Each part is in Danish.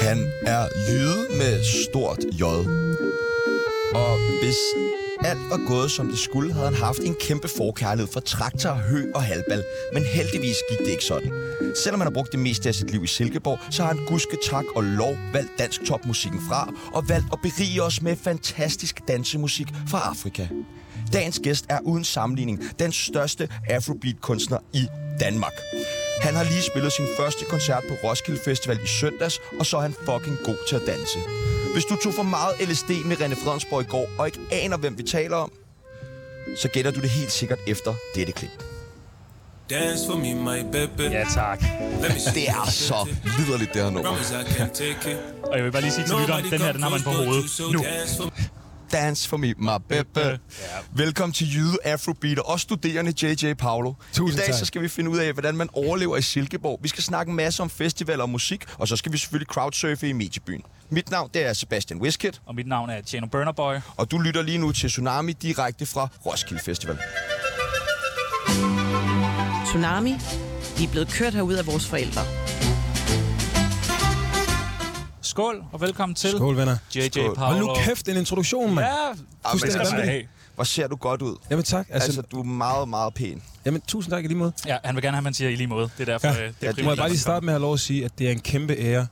Han er jyde med stort J. Og hvis alt var gået, som det skulle, havde han haft en kæmpe forkærlighed for traktor, hø og halbal. Men heldigvis gik det ikke sådan. Selvom han har brugt det meste af sit liv i Silkeborg, så har han gudske tak og lov valgt dansk topmusikken fra, og valgt at berige os med fantastisk dansemusik fra Afrika. Dagens gæst er uden sammenligning den største afrobeat-kunstner i Danmark. Han har lige spillet sin første koncert på Roskilde Festival i søndags, og så er han fucking god til at danse. Hvis du tog for meget LSD med René Fredensborg i går, og ikke aner, hvem vi taler om, så gætter du det helt sikkert efter dette klip. Dance for me, my baby. Ja, tak. Let me see Det er så liderligt, det her nummer. Promise I can take it. Og jeg vil bare lige sige til lytteren, den her, den har man på hovedet nu. dance for Dance for me, my baby. Ja. Velkommen til Jyde Afrobeat og også studerende JJ Paolo. Tusind I dag tak. så skal vi finde ud af, hvordan man overlever i Silkeborg. Vi skal snakke en masse om festivaler og musik, og så skal vi selvfølgelig crowdsurfe i mediebyen. Mit navn det er Sebastian Wiskett, Og mit navn er Tjano Burnerboy. og du lytter lige nu til Tsunami direkte fra Roskilde Festival. Tsunami. Vi er blevet kørt herud af vores forældre. Skål, og velkommen til Skål, venner. JJ Skål. Paolo. Hold nu kæft, en introduktion, mand. Ja, Ah, Fuldstændig skal du vanvittigt. have. Hvor ser du godt ud. Jamen tak. Altså, Altså, du er meget, meget pæn. jamen, tusind tak i lige måde. ja, han vil gerne have, at man siger i lige måde. Det er derfor, Ja. ja. det Ja, er du Du må jeg bare lige primært- starte med at have lov at sige, at det er en kæmpe ære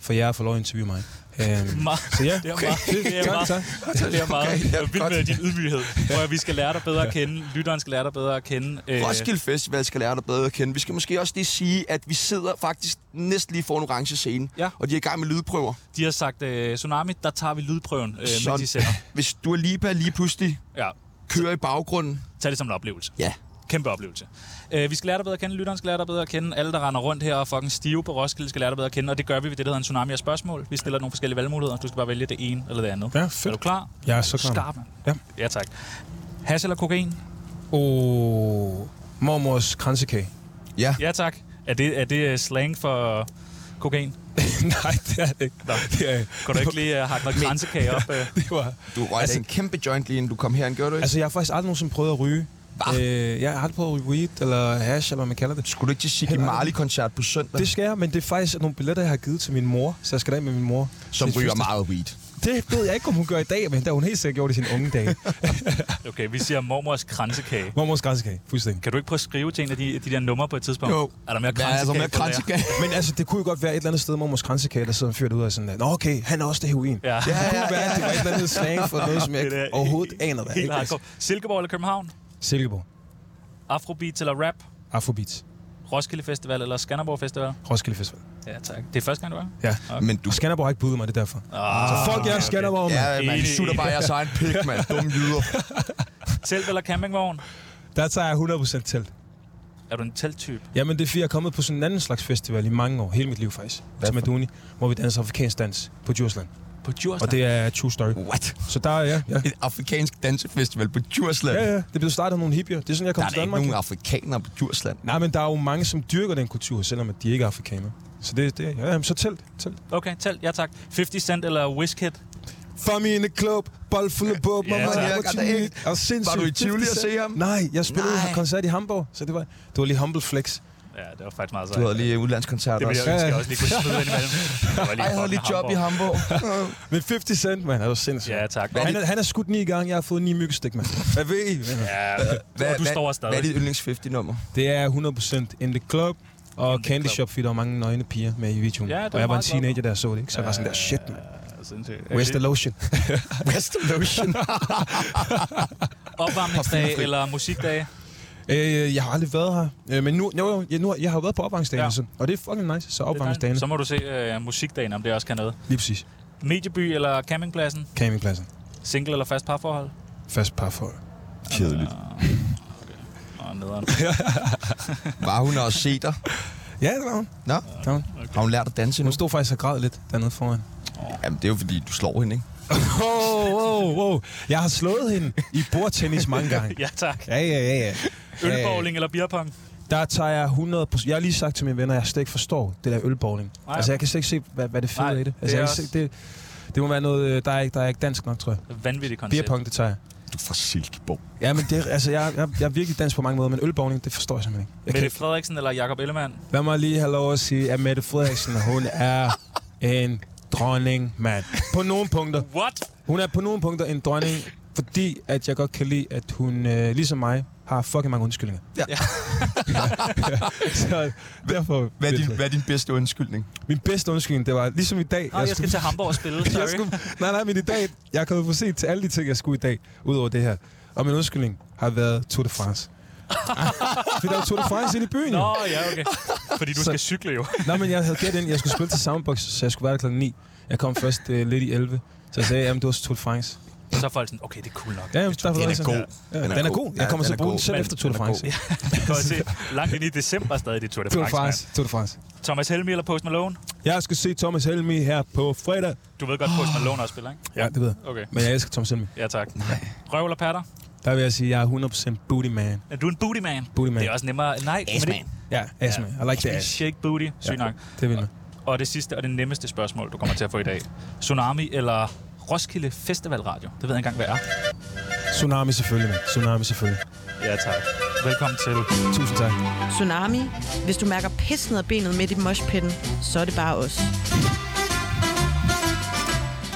for jer at få lov at interviewe mig. Øhm, Meget- så ja, Det er meget. Det er tak, meget. tak. Det er meget. Okay, Okay, ja, jeg er vild med godt. din ydmyghed. Hvor vi skal lære dig bedre at kende. Lytteren skal lære dig bedre at kende. Øh, Roskilde Festival skal lære dig bedre at kende. Vi skal måske også lige sige, at vi sidder faktisk næsten lige for en orange scene, Ja. og de er i gang med lydprøver. De har sagt, øh, Tsunami, der tager vi lydprøven, øh, Sådan. mens de sender. Hvis du er lige på lige pludselig Ja, kører i baggrunden, tag det som en oplevelse. ja, Kæmpe oplevelse. Øh, vi skal lære dig bedre at kende, lytteren skal lære dig bedre at kende, alle der render rundt her og er fucking stive på Roskilde skal lære dig bedre at kende, og det gør vi ved det, der hedder en tsunami af spørgsmål. Vi stiller nogle forskellige valgmuligheder, du skal bare vælge det ene eller det andet. Ja, Er du fedt. klar? Jeg er så klar. Skarp, mand. Ja. Ja, tak. Hash eller kokain? Åh, mormors kransekage. ja. Ja, tak. Er det, er det øh, slang for kokain? Nej, det er det ikke. Nå. Det er, Kan du ikke lige uh, hakke noget kransekage op? Uh? det var, Du røg altså, en kæmpe joint lige inden du kom herind, gjorde du ikke? Altså, altså, jeg har faktisk aldrig nogensinde prøvet at ryge. Hva? Øh, jeg har aldrig prøvet at ryge weed, eller hash, eller hvad man kalder det. skulle du ikke til Siggy Heller Marley-koncert på søndag, Det skal jeg, men det er faktisk nogle billetter, jeg har givet til min mor, så jeg skal da med min mor. som Det er ryger første- meget weed? Det ved jeg ikke, om hun gør i dag, men det har hun helt sikkert gjort i sine unge dage. Okay, vi siger mormors kransekage. Mormors grænsekage, fuldstændig. Kan du ikke prøve at skrive til en af de, de der numre på et tidspunkt? Jo. Er der mere Hvad kransekage? altså, er der med på det her? kransekage? Men altså, det kunne jo godt være et eller andet sted, mormors grænsekage, der sidder en fyr derude og sådan, at, Nå, okay, han er også det heroin. Ja. Det kunne være, at det var et eller andet slang for noget, som jeg Det er ikke overhovedet aner, hvad Helt ikke? Altså, hardcore. Silkeborg eller København? Silkeborg, Afrobeat eller rap? Afrobeats, Roskilde Festival eller Skanderborg Festival? Roskilde Festival. Ja, tak. Det er første gang, du er? Ja. Men du... Og Skanderborg har ikke budet mig, det er derfor. Ah, Så fuck jer, okay. Skanderborg, mand. Ja, man, I Enig, sutter enig. bare jeres egen pik, mand. Dumme jyder. Telt eller campingvogn? Der tager jeg 100% telt. Er du en telttype? Jamen, det er fordi, jeg er kommet på sådan en anden slags festival i mange år, hele mit liv faktisk, Hvad som er Duni, hvor vi danser afrikansk dans på Djursland. På Djursland? Og det er true story. What? Så der er, ja, ja. Et afrikansk dansefestival på Djursland. Ja, ja, det blev startet af nogle hippier. Det er sådan, jeg Der kom er til da ikke Danmark. nogen afrikanere på Djursland. Nej, men der er jo mange, som dyrker den kultur, selvom at de ikke er afrikanere. Så det, det ja, jamen, så telt, telt. Okay, telt. Ja, tak. 50 Cent eller Wizkid? For me in the club, bold fuld af bub, Ja, tak. Jeg gør det ikke. Og sindssygt. Var du i Tivoli at se ham? Nej, jeg spillede Nej. Nej. koncert i Hamburg, så det var, det var lige humble flex. Ja, det var faktisk meget sejt. Du havde lige udlandskoncert Det ville også. jeg ønske, jeg også lige kunne smide ind imellem. Det var Ej, jeg havde lige job i Hamburg. Men 50 Cent, man, er jo sindssygt. Ja, tak. Han, er, han er skudt ni gange, jeg har fået ni myggestik, mand. Hvad ved I? Ja, Hvad, og du hvad, står Hvad er stadig. dit yndlings 50-nummer? Det er 100% in the club. Og the Candy club. Shop, fordi der var mange nøgne piger med i videoen. Ja, det var og jeg var en meget godt. teenager, der så det, ikke? Så jeg var sådan der, shit, man. Ja, sindssygt. Where's the lotion? West Lotion. Opvarmningsdag eller musikdag? Øh, jeg har aldrig været her. Øh, men nu, jo, jo, jeg, nu, jeg har jo været på opvarmningsdagen, Ja. ja. sådan, og det er fucking nice. Så opvarmningsdagen, Så må du se øh, musikdagen, om det også kan noget. lige præcis. Medieby eller campingpladsen? Campingpladsen. Single eller fast parforhold? Fast par for. Kedeligt. Og nederen. Var hun også se dig? Ja, det var hun. Nå, Det var hun. har hun lært at danse nu? Hun stod faktisk og græd lidt dernede foran. Jamen, det er jo fordi, du slår hende, ikke? Wow, wow, wow. Jeg har slået hende i bordtennis mange gange. ja, tak. Ja, ja, ja, ja. Ølbowling eller beerpong? Der tager jeg 100 Jeg har lige sagt til mine venner, at jeg slet ikke forstår det der ølbowling. Nej. Altså, jeg kan slet ikke se, hvad, hvad det fede Nej, er i det. det Altså, er jeg kan se, det, det må være noget, øh, der er, ikke, der er ikke dansk nok, tror jeg. Vanvittigt koncept. Beerpong, det tager jeg. du fra Silkeborg. Ja, men det, er- altså, jeg, jeg, jeg er virkelig dansk på mange måder, men ølbowling, det forstår jeg simpelthen ikke. Jeg kan Mette ikke. Frederiksen eller Jakob Ellemann? Lad mig lige have lov at sige, at Mette Frederiksen, hun er en dronning, mand. På nogle punkter. What? Hun er på nogle punkter en dronning, fordi at jeg godt kan lide, at hun, øh, ligesom mig, har fucking mange undskyldninger. Ja. Så derfor... Hvad er din, hvad er din bedste undskyldning? Min bedste undskyldning, det var ligesom i dag... Nå, jeg skal til Hamburg og spille, jeg sorry. skulle, nej, nej, men i dag, jeg er kommet for sent til alle de ting, jeg skulle i dag, udover det her. Og min undskyldning har været Tour de France. Fordi der er Tour de France inde i byen, Nå, jo. ja, okay. Fordi du Så- skal cykle jo. Nej, men jeg havde gæt ind, jeg skulle spille til Soundbox, så jeg skulle være der klokken 9. Jeg kom først øh, lidt i 11, så jeg sagde, jamen det var Tour de France. Så er folk sådan, okay, det er cool nok. Ja, jamen, derfor Den var er jeg sådan, god. Ja, den, er god. Jeg kommer Ja, den til at er bruge den god. selv Men efter Tour de den er France. god. For at se, langt ind i december stadig, det er Tour de Tour de France, mand. France. Tour de France. Thomas Helmi eller Post Malone? Jeg skal se Thomas Helmi her på fredag. Du ved godt, Post Malone også spiller, ikke? Ja, det ved jeg. Okay, Men jeg elsker Thomas Helmi. ja tak. Nej. Røv eller patter? Der vil jeg sige, at jeg er 100% booty man. Er du en booty man? Booty man. Det er også nemmere. Nej, men det, Ja, ass man. I like the det er ass. shake booty. Sygt nok. Det vil man. Og det sidste og det nemmeste spørgsmål, du kommer til at få i dag. Tsunami eller Roskilde Festival Radio? Det ved jeg ikke engang, hvad er. Tsunami selvfølgelig, man. Tsunami selvfølgelig. Ja, tak. Velkommen til. Tusind tak. Tsunami, hvis du mærker pis ned ad benet midt i moshpitten, så er det bare os.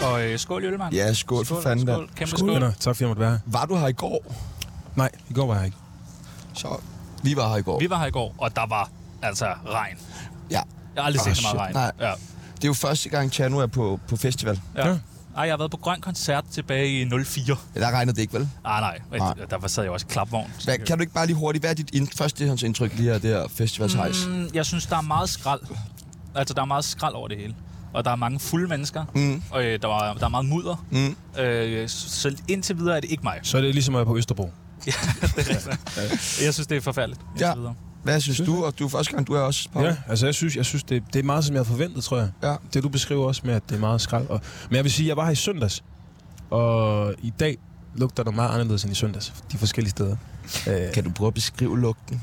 Og øh, skål, Jøllemann. Ja, skål for fanden, mand. skål. Kæmpe Skål, skål. venner. Tak fordi jeg måtte være her. Var du her i går? Nej, i går var jeg ikke. Så vi var her i går. Vi var her i går, og der var altså regn. Ja. Jeg har aldrig set Ah, så meget shit. regn. Nej. Ja. Det er jo første gang, Chano er på, på festival. Ja. Ja. Ej, jeg har været på grøn koncert tilbage i 04. Ja, der regnede det ikke, vel? Ah, nej, Nej. nej. Der var- sad jeg også i klapvogn. så Hvad, det- kan du ikke bare lige hurtigt, hvad er dit ind, første indtryk lige her, det her festivalshejs? Mm. Mm, jeg synes, der er meget skrald. Altså, der er meget skrald over det hele. Og der er mange fulde mennesker. Mm. Og øh, der, var, der er meget mudder. Mm. Øh, så- så indtil videre er det ikke mig. Så er det ligesom at være på Østerbro. Jeg synes, det er forfærdeligt. Ja. Indtil videre. Hvad synes du? Og du er første gang, du er også på. Ja, altså jeg synes, jeg synes det, det er meget, som jeg havde forventet, tror jeg. Ja. Det du beskriver også med, at det er meget skrald. Og, men jeg vil sige, jeg var her i søndags, og i dag lugter der meget anderledes end i søndags, de forskellige steder. Øh, Kan du prøve at beskrive lugten?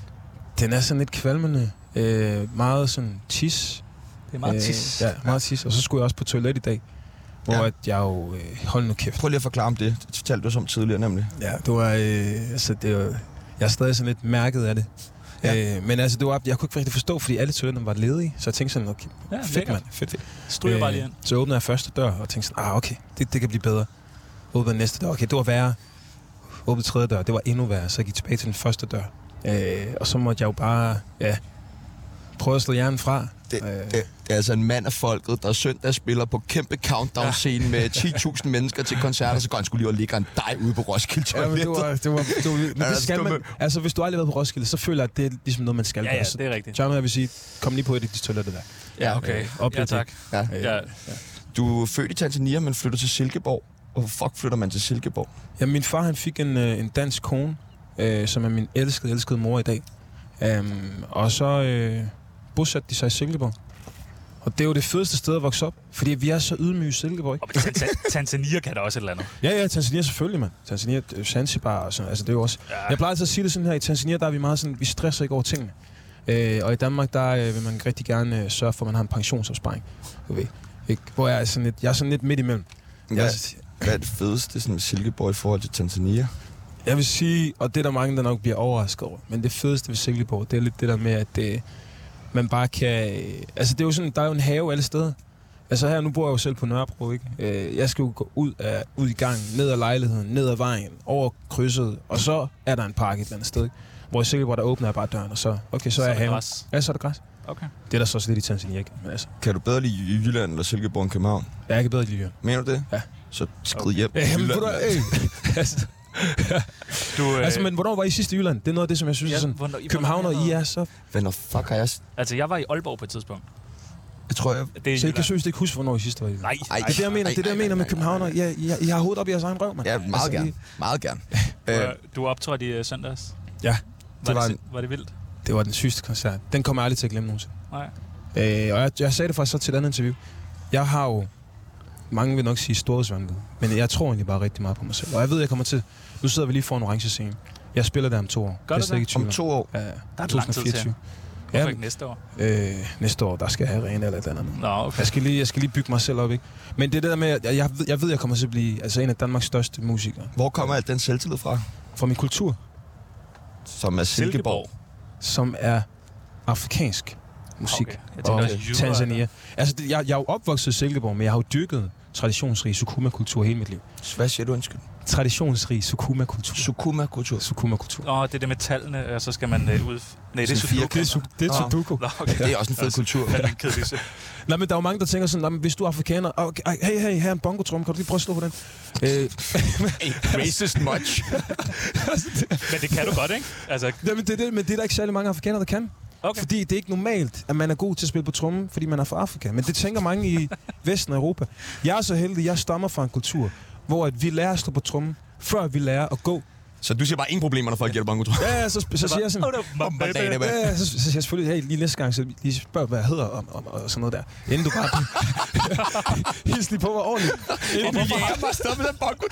den er sådan lidt kvalmende, øh, meget sådan tis, Det er meget tis. Øh, ja, meget tis. Og så skulle jeg også på toilet i dag, hvor Ja. ja. at jeg jo... Øh, hold nu kæft. Prøv lige at forklare om det. Det fortalte du som tidligere, nemlig. Ja, det var... Øh, altså, det var jeg er stadig sådan lidt mærket af det. Ja. Ja. Øh, men altså, det var, jeg kunne ikke rigtig forstå, fordi alle toiletterne var ledige. Så jeg tænkte sådan, okay, Ja, fedt lækkert. mand, fedt. fedt. Stryger bare lige ind. Øh, Så åbnede jeg første dør og tænkte sådan, ah okay, det, det kan blive bedre. Åbnede næste dør, okay, det var værre. Åbnede tredje dør, det var endnu værre. Så jeg gik tilbage til den første dør. Øh, og så måtte jeg jo bare, ja, prøve at slå hjernen fra. Det, Øh. det, det er altså en mand af folket, der søndag spiller på kæmpe countdown-scene med 10.000 mennesker til koncerter, så går han skulle lige og ligger en dej ude på Roskilde Ja, men det var, det var, det var men Altså, det skal man, dumme. altså, hvis du aldrig har været på Roskilde, så føler jeg, at det er ligesom noget, man skal. Ja, ja, det er rigtigt. John, jeg vil sige, kom lige på et af de toiletter der. Ja, okay. Øh, oplev ja, det. tak. Ja. Ja. Du er født i Tanzania, men flytter til Silkeborg. Hvorfor fuck flytter man til Silkeborg? Ja, min far, han fik en, øh, en dansk kone, øh, som er min elskede, elskede mor i dag. Um, og så øh, bosatte de sig i Silkeborg. Og det er jo det fedeste sted at vokse op, fordi vi er så ydmyge i Silkeborg, ikke? Og Tansa- Tanzania kan der også et eller andet. Ja, ja, Tanzania selvfølgelig, mand. Tanzania, øh, Zanzibar og sådan, altså det er jo også... Ja. Jeg plejer altid at sige det sådan her, i Tanzania, der er vi meget sådan, vi stresser ikke over tingene. Øh, og i Danmark, der øh, vil man rigtig gerne øh, sørge for, at man har en pensionsopsparing. Du ved, ikke? Hvor jeg er sådan lidt, jeg er sådan lidt midt imellem. Hvad, Jeg, hvad er det fedeste sådan, med Silkeborg i forhold til Tanzania? jeg vil sige, og det er der mange, der nok bliver overrasket over, men det fedeste ved Silkeborg, det er lidt det der med, at det, man bare kan... Øh, altså det er jo sådan, der er jo en have alle steder. Altså her, nu bor jeg jo selv på Nørrebro, ikke? Øh, jeg skal jo gå ud, af, ud i gangen, ned ad lejligheden, ned ad vejen, over krydset, og så er der en park et eller andet sted, ikke? Hvor i Silkeborg, der åbner jeg bare døren, og så, okay, så, Så er er jeg der haven. græs. Ja, så er der græs. Okay. Det er der så også lidt i Tanzania, ikke? Men altså, Kan du bedre lide Jylland eller Silkeborg end København? jeg kan bedre lide Jylland. Mener du det? Ja. Så skrid hjem. Ja, men, Jylland, hvor, mand. øh, altså, Du, øh, altså, men hvornår var I sidst i Jylland? Det er noget af det, som jeg synes Ja, ja, er sådan... hvornår- hvornår- København og I er så... Hvad når fuck har jeg... s- altså, jeg var i Aalborg på et tidspunkt. Jeg tror, jeg... Det er Så I kan Jylland. seriøst ikke huske, hvornår I sidst var i Jylland? Nej, Ej, Det er det, jeg mener, det er det, jeg mener med København. og- Ja, I, har- I har hovedet op i jeres egen røv, mand. Ja, meget Altså, gerne. I- Meget gerne. Øh, du, du optrådte i øh, søndags. Ja, Var det, var var, en- det, var det vildt? det var den sygeste koncert. Den kommer jeg aldrig til at glemme nogensinde. Nej. Øh, og jeg, jeg sagde det faktisk så til et andet interview. Jeg har jo... Mange vil nok sige storhedsvanvid, men jeg tror egentlig bare rigtig meget på mig selv. Og jeg ved, jeg kommer til... Nu sidder vi lige foran orange scene. Jeg spiller der om to år. Gør jeg du slet det? ikke i tvivl om to år. Ja, der lang tid til. Hvorfor Ja. ikke næste år? Øh, næste år, der skal jeg have arena eller et eller andet. Nå, okay. Jeg skal, lige, jeg skal lige bygge mig selv op, ikke? Men det er det der med, at jeg, jeg, ved, jeg ved, jeg kommer til at blive altså, en af Danmarks største musikere. Hvor kommer alt den selvtillid fra? Fra min kultur, Som er Silkeborg. som er afrikansk musik. Okay. Jeg tænker og også Jura, Tanzania. Altså, det, jeg, jeg er jo opvokset i Silkeborg, men jeg har jo dyrket traditionsrig Sukuma-kultur hele mit liv. Hvad siger du, undskyld? Traditionsrig Sukuma-kultur. Sukuma-kultur. Sukuma-kultur. Nå, det er det med tallene, og så skal man øh, ud... Nej, det er Sådan fire Sudoku. kæder. Det er Nå. Sudoku. Nå, okay. Det er også en fed kultur. Fandme en kedelig se- Nej, men der er jo mange, der tænker sådan, "Nå, men hvis du er afrikaner, okay, ej, hey, hey, her er en bongotrum, kan du lige prøve at slå på den? Øh, Racist much. Men det kan du godt, ikke? Altså, jamen, det er det, men det er der ikke særlig mange afrikanere, der kan. okay. Fordi det er ikke normalt, at man er god til at spille på trommen, fordi man er fra Afrika. Men det tænker mange i Vesten og Europa. Jeg er så heldig, jeg stammer fra en kultur, hvor at vi lærer at slå på trommen, før vi lærer at gå. Så du siger bare ingen problemer, når folk gælder banko, tror jeg. Ja, ja, så, så, så siger jeg sådan... Oh, no, my Hvordan baby. er det? Ja, ja, så, så siger jeg selvfølgelig, hey, lige næste gang, så lige spørg, hvad jeg hedder, og, og, og sådan noget der. Inden du bare... Hils lige på mig ordentligt. Inden du bare... bare stoppe den banko,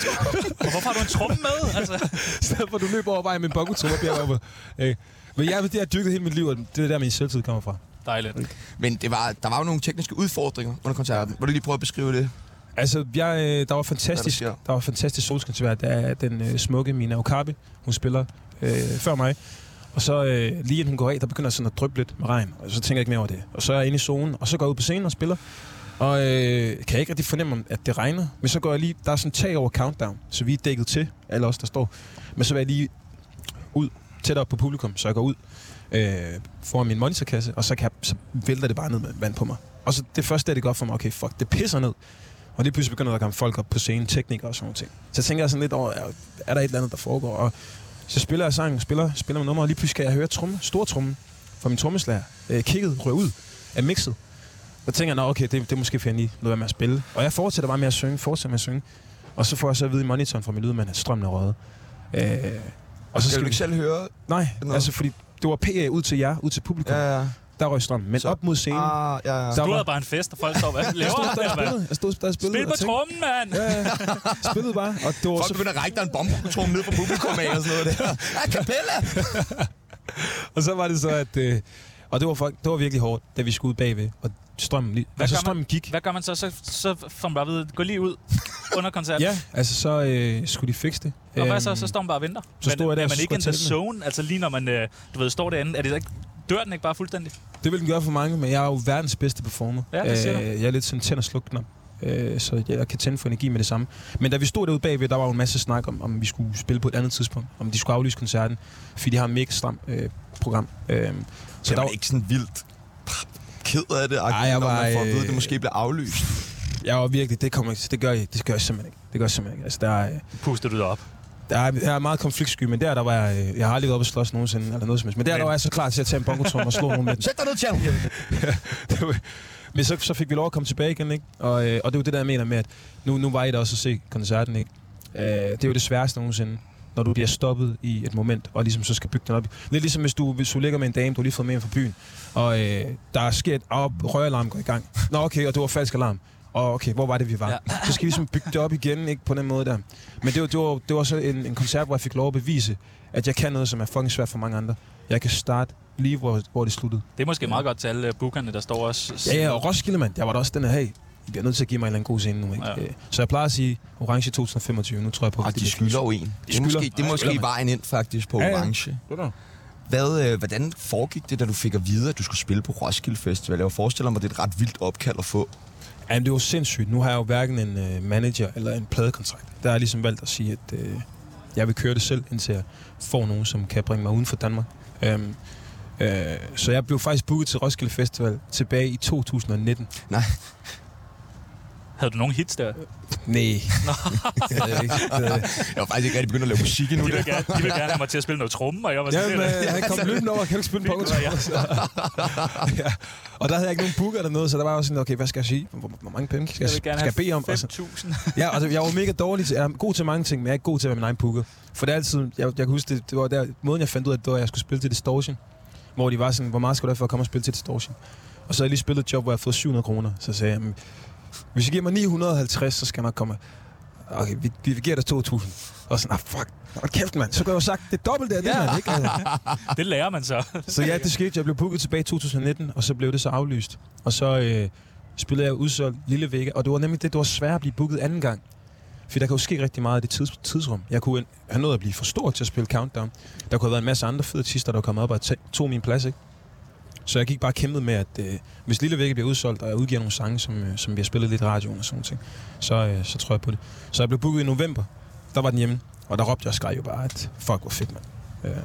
Og hvorfor har du en trumme med? Altså, I stedet for, at du løber over vejen med en bongotrum og bliver over. Øh. Men jeg, det har jeg dyrket hele mit liv, og det er der, min selvtid kommer fra. dejligt. Men det var, der var jo nogle tekniske udfordringer under koncerten. Vil du lige prøve at beskrive det? Altså, jeg, øh, der var fantastisk, Hvad der der, sker? der var fantastisk solskinskoncert af den øh, smukke Mina Okabe. Hun spiller øh, før mig. Og så øh, lige inden hun går af, der begynder sådan at dryppe lidt med regn. Og så tænker jeg ikke mere over det. Og så er jeg inde i zonen, og så går jeg ud på scenen og spiller. Og øh, kan jeg ikke rigtig fornemme, at det regner. Men så går jeg lige, der er sådan tag over countdown, så vi er dækket til, alle os, der står. Men så vil jeg lige ud, tættere på publikum, så jeg går ud øh, foran min monitorkasse, og så, kan jeg, så vælter det bare ned med vand på mig. Og så det første, der det går op for mig, okay, fuck, det pisser ned. Og lige pludselig begynder der at komme folk op på scenen, teknikere og sådan noget. ting. Så tænker jeg sådan lidt over, er- er der et eller andet, der foregår? Og så spiller jeg sangen, spiller, spiller med nummer, og lige pludselig kan jeg høre tromme, stor trummen fra min trommeslager. Øh, kigget rører ud af mixet. Og tænker jeg, nå okay, det, det er måske fordi, jeg lige noget med at spille. Og jeg fortsætter bare med at synge, fortsætter med at synge. Og så får jeg så at vide i monitoren fra min lydmand, at strømmen er røget. Øh, og så Skal skal du vi... ikke selv høre? Nej, Nå. altså fordi det var PA ud til jer, ud til publikum. Ja. ja. Der røg strømmen. Men Så- op mod scenen, ah, Ah, ja, ja. der Du var... havde bare en fest, og folk står, hvad Jeg laver stod han der der, og mand? spillede, jeg stod der og spillede. Spil og på tænkte- trummen, mand! Ja, ja. Spillede Øh. bare. Og det var Folk så begynder at række dig en bombetrum ned på publikum af og sådan noget der. Ah, kapella! Og så var det så, at... Øh, og det var, folk, det var virkelig hårdt, da vi skulle ud bagved. Og strømmen, lige, Hvad altså, gør man? strømmen gik. Hvad gør man så? Så, så får man bare ved, gå lige ud under koncerten. Ja, altså så øh, skulle de fikse det. Og hvad så? Øhm, Så står man bare og venter. så Men stod jeg der er og man ikke in the skulle tælle zone? Altså lige når man, øh, du ved, står derinde, er det så ikke, dør den ikke bare fuldstændig? Det vil den gøre for mange, men jeg er jo verdens bedste performer. Øh, Ja, det siger du. jeg er lidt sådan tænd og sluk knap. Øh, så jeg kan tænde for energi med det samme. Men da vi stod derude bagved, der var jo en masse snak om, om vi skulle spille på et andet tidspunkt. Om de skulle aflyse koncerten, fordi de har et mega stramt øh, program. Øh, Så så der der, var- var ikke sådan vildt ked af det, Ej, Ej, jeg når var, man får at vide, at øh, det måske bliver aflyst. jeg var virkelig, det kommer ikke, det gør jeg, det gør jeg simpelthen ikke. Det gør jeg simpelthen ikke. Altså, der, er, øh, Puster du dig op? der, er, jeg er meget konfliktsky, men der, der var jeg, øh, jeg har aldrig været oppe og slås nogensinde, eller noget som helst. Men der, der var jeg så klar til at tage en bongotrum og slå nogen med den. Sæt dig ned, Ah, champ! Men så, så fik vi lov at komme tilbage igen, ikke? Og, øh, og det er jo det, der jeg mener med, at nu, nu var I der også at se koncerten, ikke? Øh, det er jo det sværeste nogensinde, når du bliver stoppet i et moment, og ligesom så skal bygge den op. Lidt ligesom hvis du, hvis du ligger med en dame, du har lige fået med ind fra byen, og øh, der sker et op, røgalarm går i gang. Nå okay, og det var falsk alarm. Og okay, hvor var det, vi var? Ja. Ja. Så skal vi ligesom bygge det op igen, ikke på den måde der. Men det var, det var, det var så en, en koncert, hvor jeg fik lov at bevise, at jeg kan noget, som er fucking svært for mange andre. Jeg kan starte lige, hvor, hvor det sluttede. Det er måske meget godt til alle øh, bookerne, der står også. Ja, ja, og Roskilde, mand. Jeg var da også den her, hey, I bliver nødt til at give mig en eller anden god scene nu, ikke? Ja. Ja. Så jeg plejer at sige, orange 2025, nu tror jeg på... Ah, at de bliver- skylder jo en. Det er skylder. måske, det er Ja, måske skylder man. vejen ind faktisk på Ja, ja. orange. Skylder. Hvad, øh, hvordan foregik det, da du fik at vide, at du skulle spille på Roskilde Festival? Jeg forestiller mig, det er et ret vildt opkald at få. Jamen, det er jo sindssygt. Nu har jeg jo hverken en øh, manager eller en pladekontrakt. Der har jeg ligesom valgt at sige, at øh, jeg vil køre det selv, indtil jeg får nogen, som kan bringe mig uden for Danmark. Øhm, øh, så jeg blev faktisk booket til Roskilde Festival tilbage i 2019. Havde du nogen hits der? Nej. det er ikke. Det er- Jeg var faktisk ikke rigtig begyndt at lave musik endnu. De ville der. gerne, de ville gerne have mig til at spille noget tromme, og jeg var sådan Jamen, lidt... øh, han kom løbende over, kan du ikke spille en Fint, bongotrummer? ja. Og der havde jeg ikke nogen booker eller noget, så der var jeg også sådan, okay, hvad skal jeg sige? Hvor, hvor- hvor mange penge skal jeg, Jeg vil gerne skal jeg bede om? Og så, have 5.000. ja, altså, jeg var mega dårlig til, jeg er god til mange ting, men jeg er ikke god til at være min egen booker. For det er altid, jeg, jeg kan huske, det, det var der, måden jeg fandt ud af, det var, at jeg skulle spille til Distortion. Hvor de var sådan, hvor meget skal du have for at komme og spille til Distortion? Og så havde jeg lige spillet et job, hvor jeg havde fået 700 kroner. Så sagde jeg, "Jamen, hvis jeg giver mig 950, så skal jeg nok komme. okay, vi, vi giver dig 2.000. Og sådan, ah, fuck, hold kæft, mand. Så kunne jeg jo have sagt, det er dobbelt af det, Ja. mand, ikke? Altså. Det lærer man så. Så ja, det skete. Jeg blev booket tilbage i 2019, og så blev det så aflyst. Og så øh, spillede jeg udsolgt Lille Vega, og det var nemlig det, det var svært at blive booket anden gang. For der kan jo ske rigtig meget i det tids, tidsrum. Jeg kunne en- have nået at blive for stor til at spille Countdown. Der kunne have været en masse andre fede artister, der var kommet op og ta- tog min plads, ikke? Så jeg gik bare og kæmpede med, at øh, hvis Lille Vægge bliver udsolgt, og jeg udgiver nogle sange, som, øh, som vi har spillet lidt i radioen og sådan noget, så, øh, så tror jeg på det. Så jeg blev booket i november. Der var den hjemme, og der råbte jeg og skreg jo bare, at fuck, hvor fedt, mand.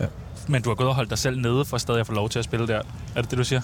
Øh, Men du har gået og holdt dig selv nede for stadig at få lov til at spille der. Er det det, du siger?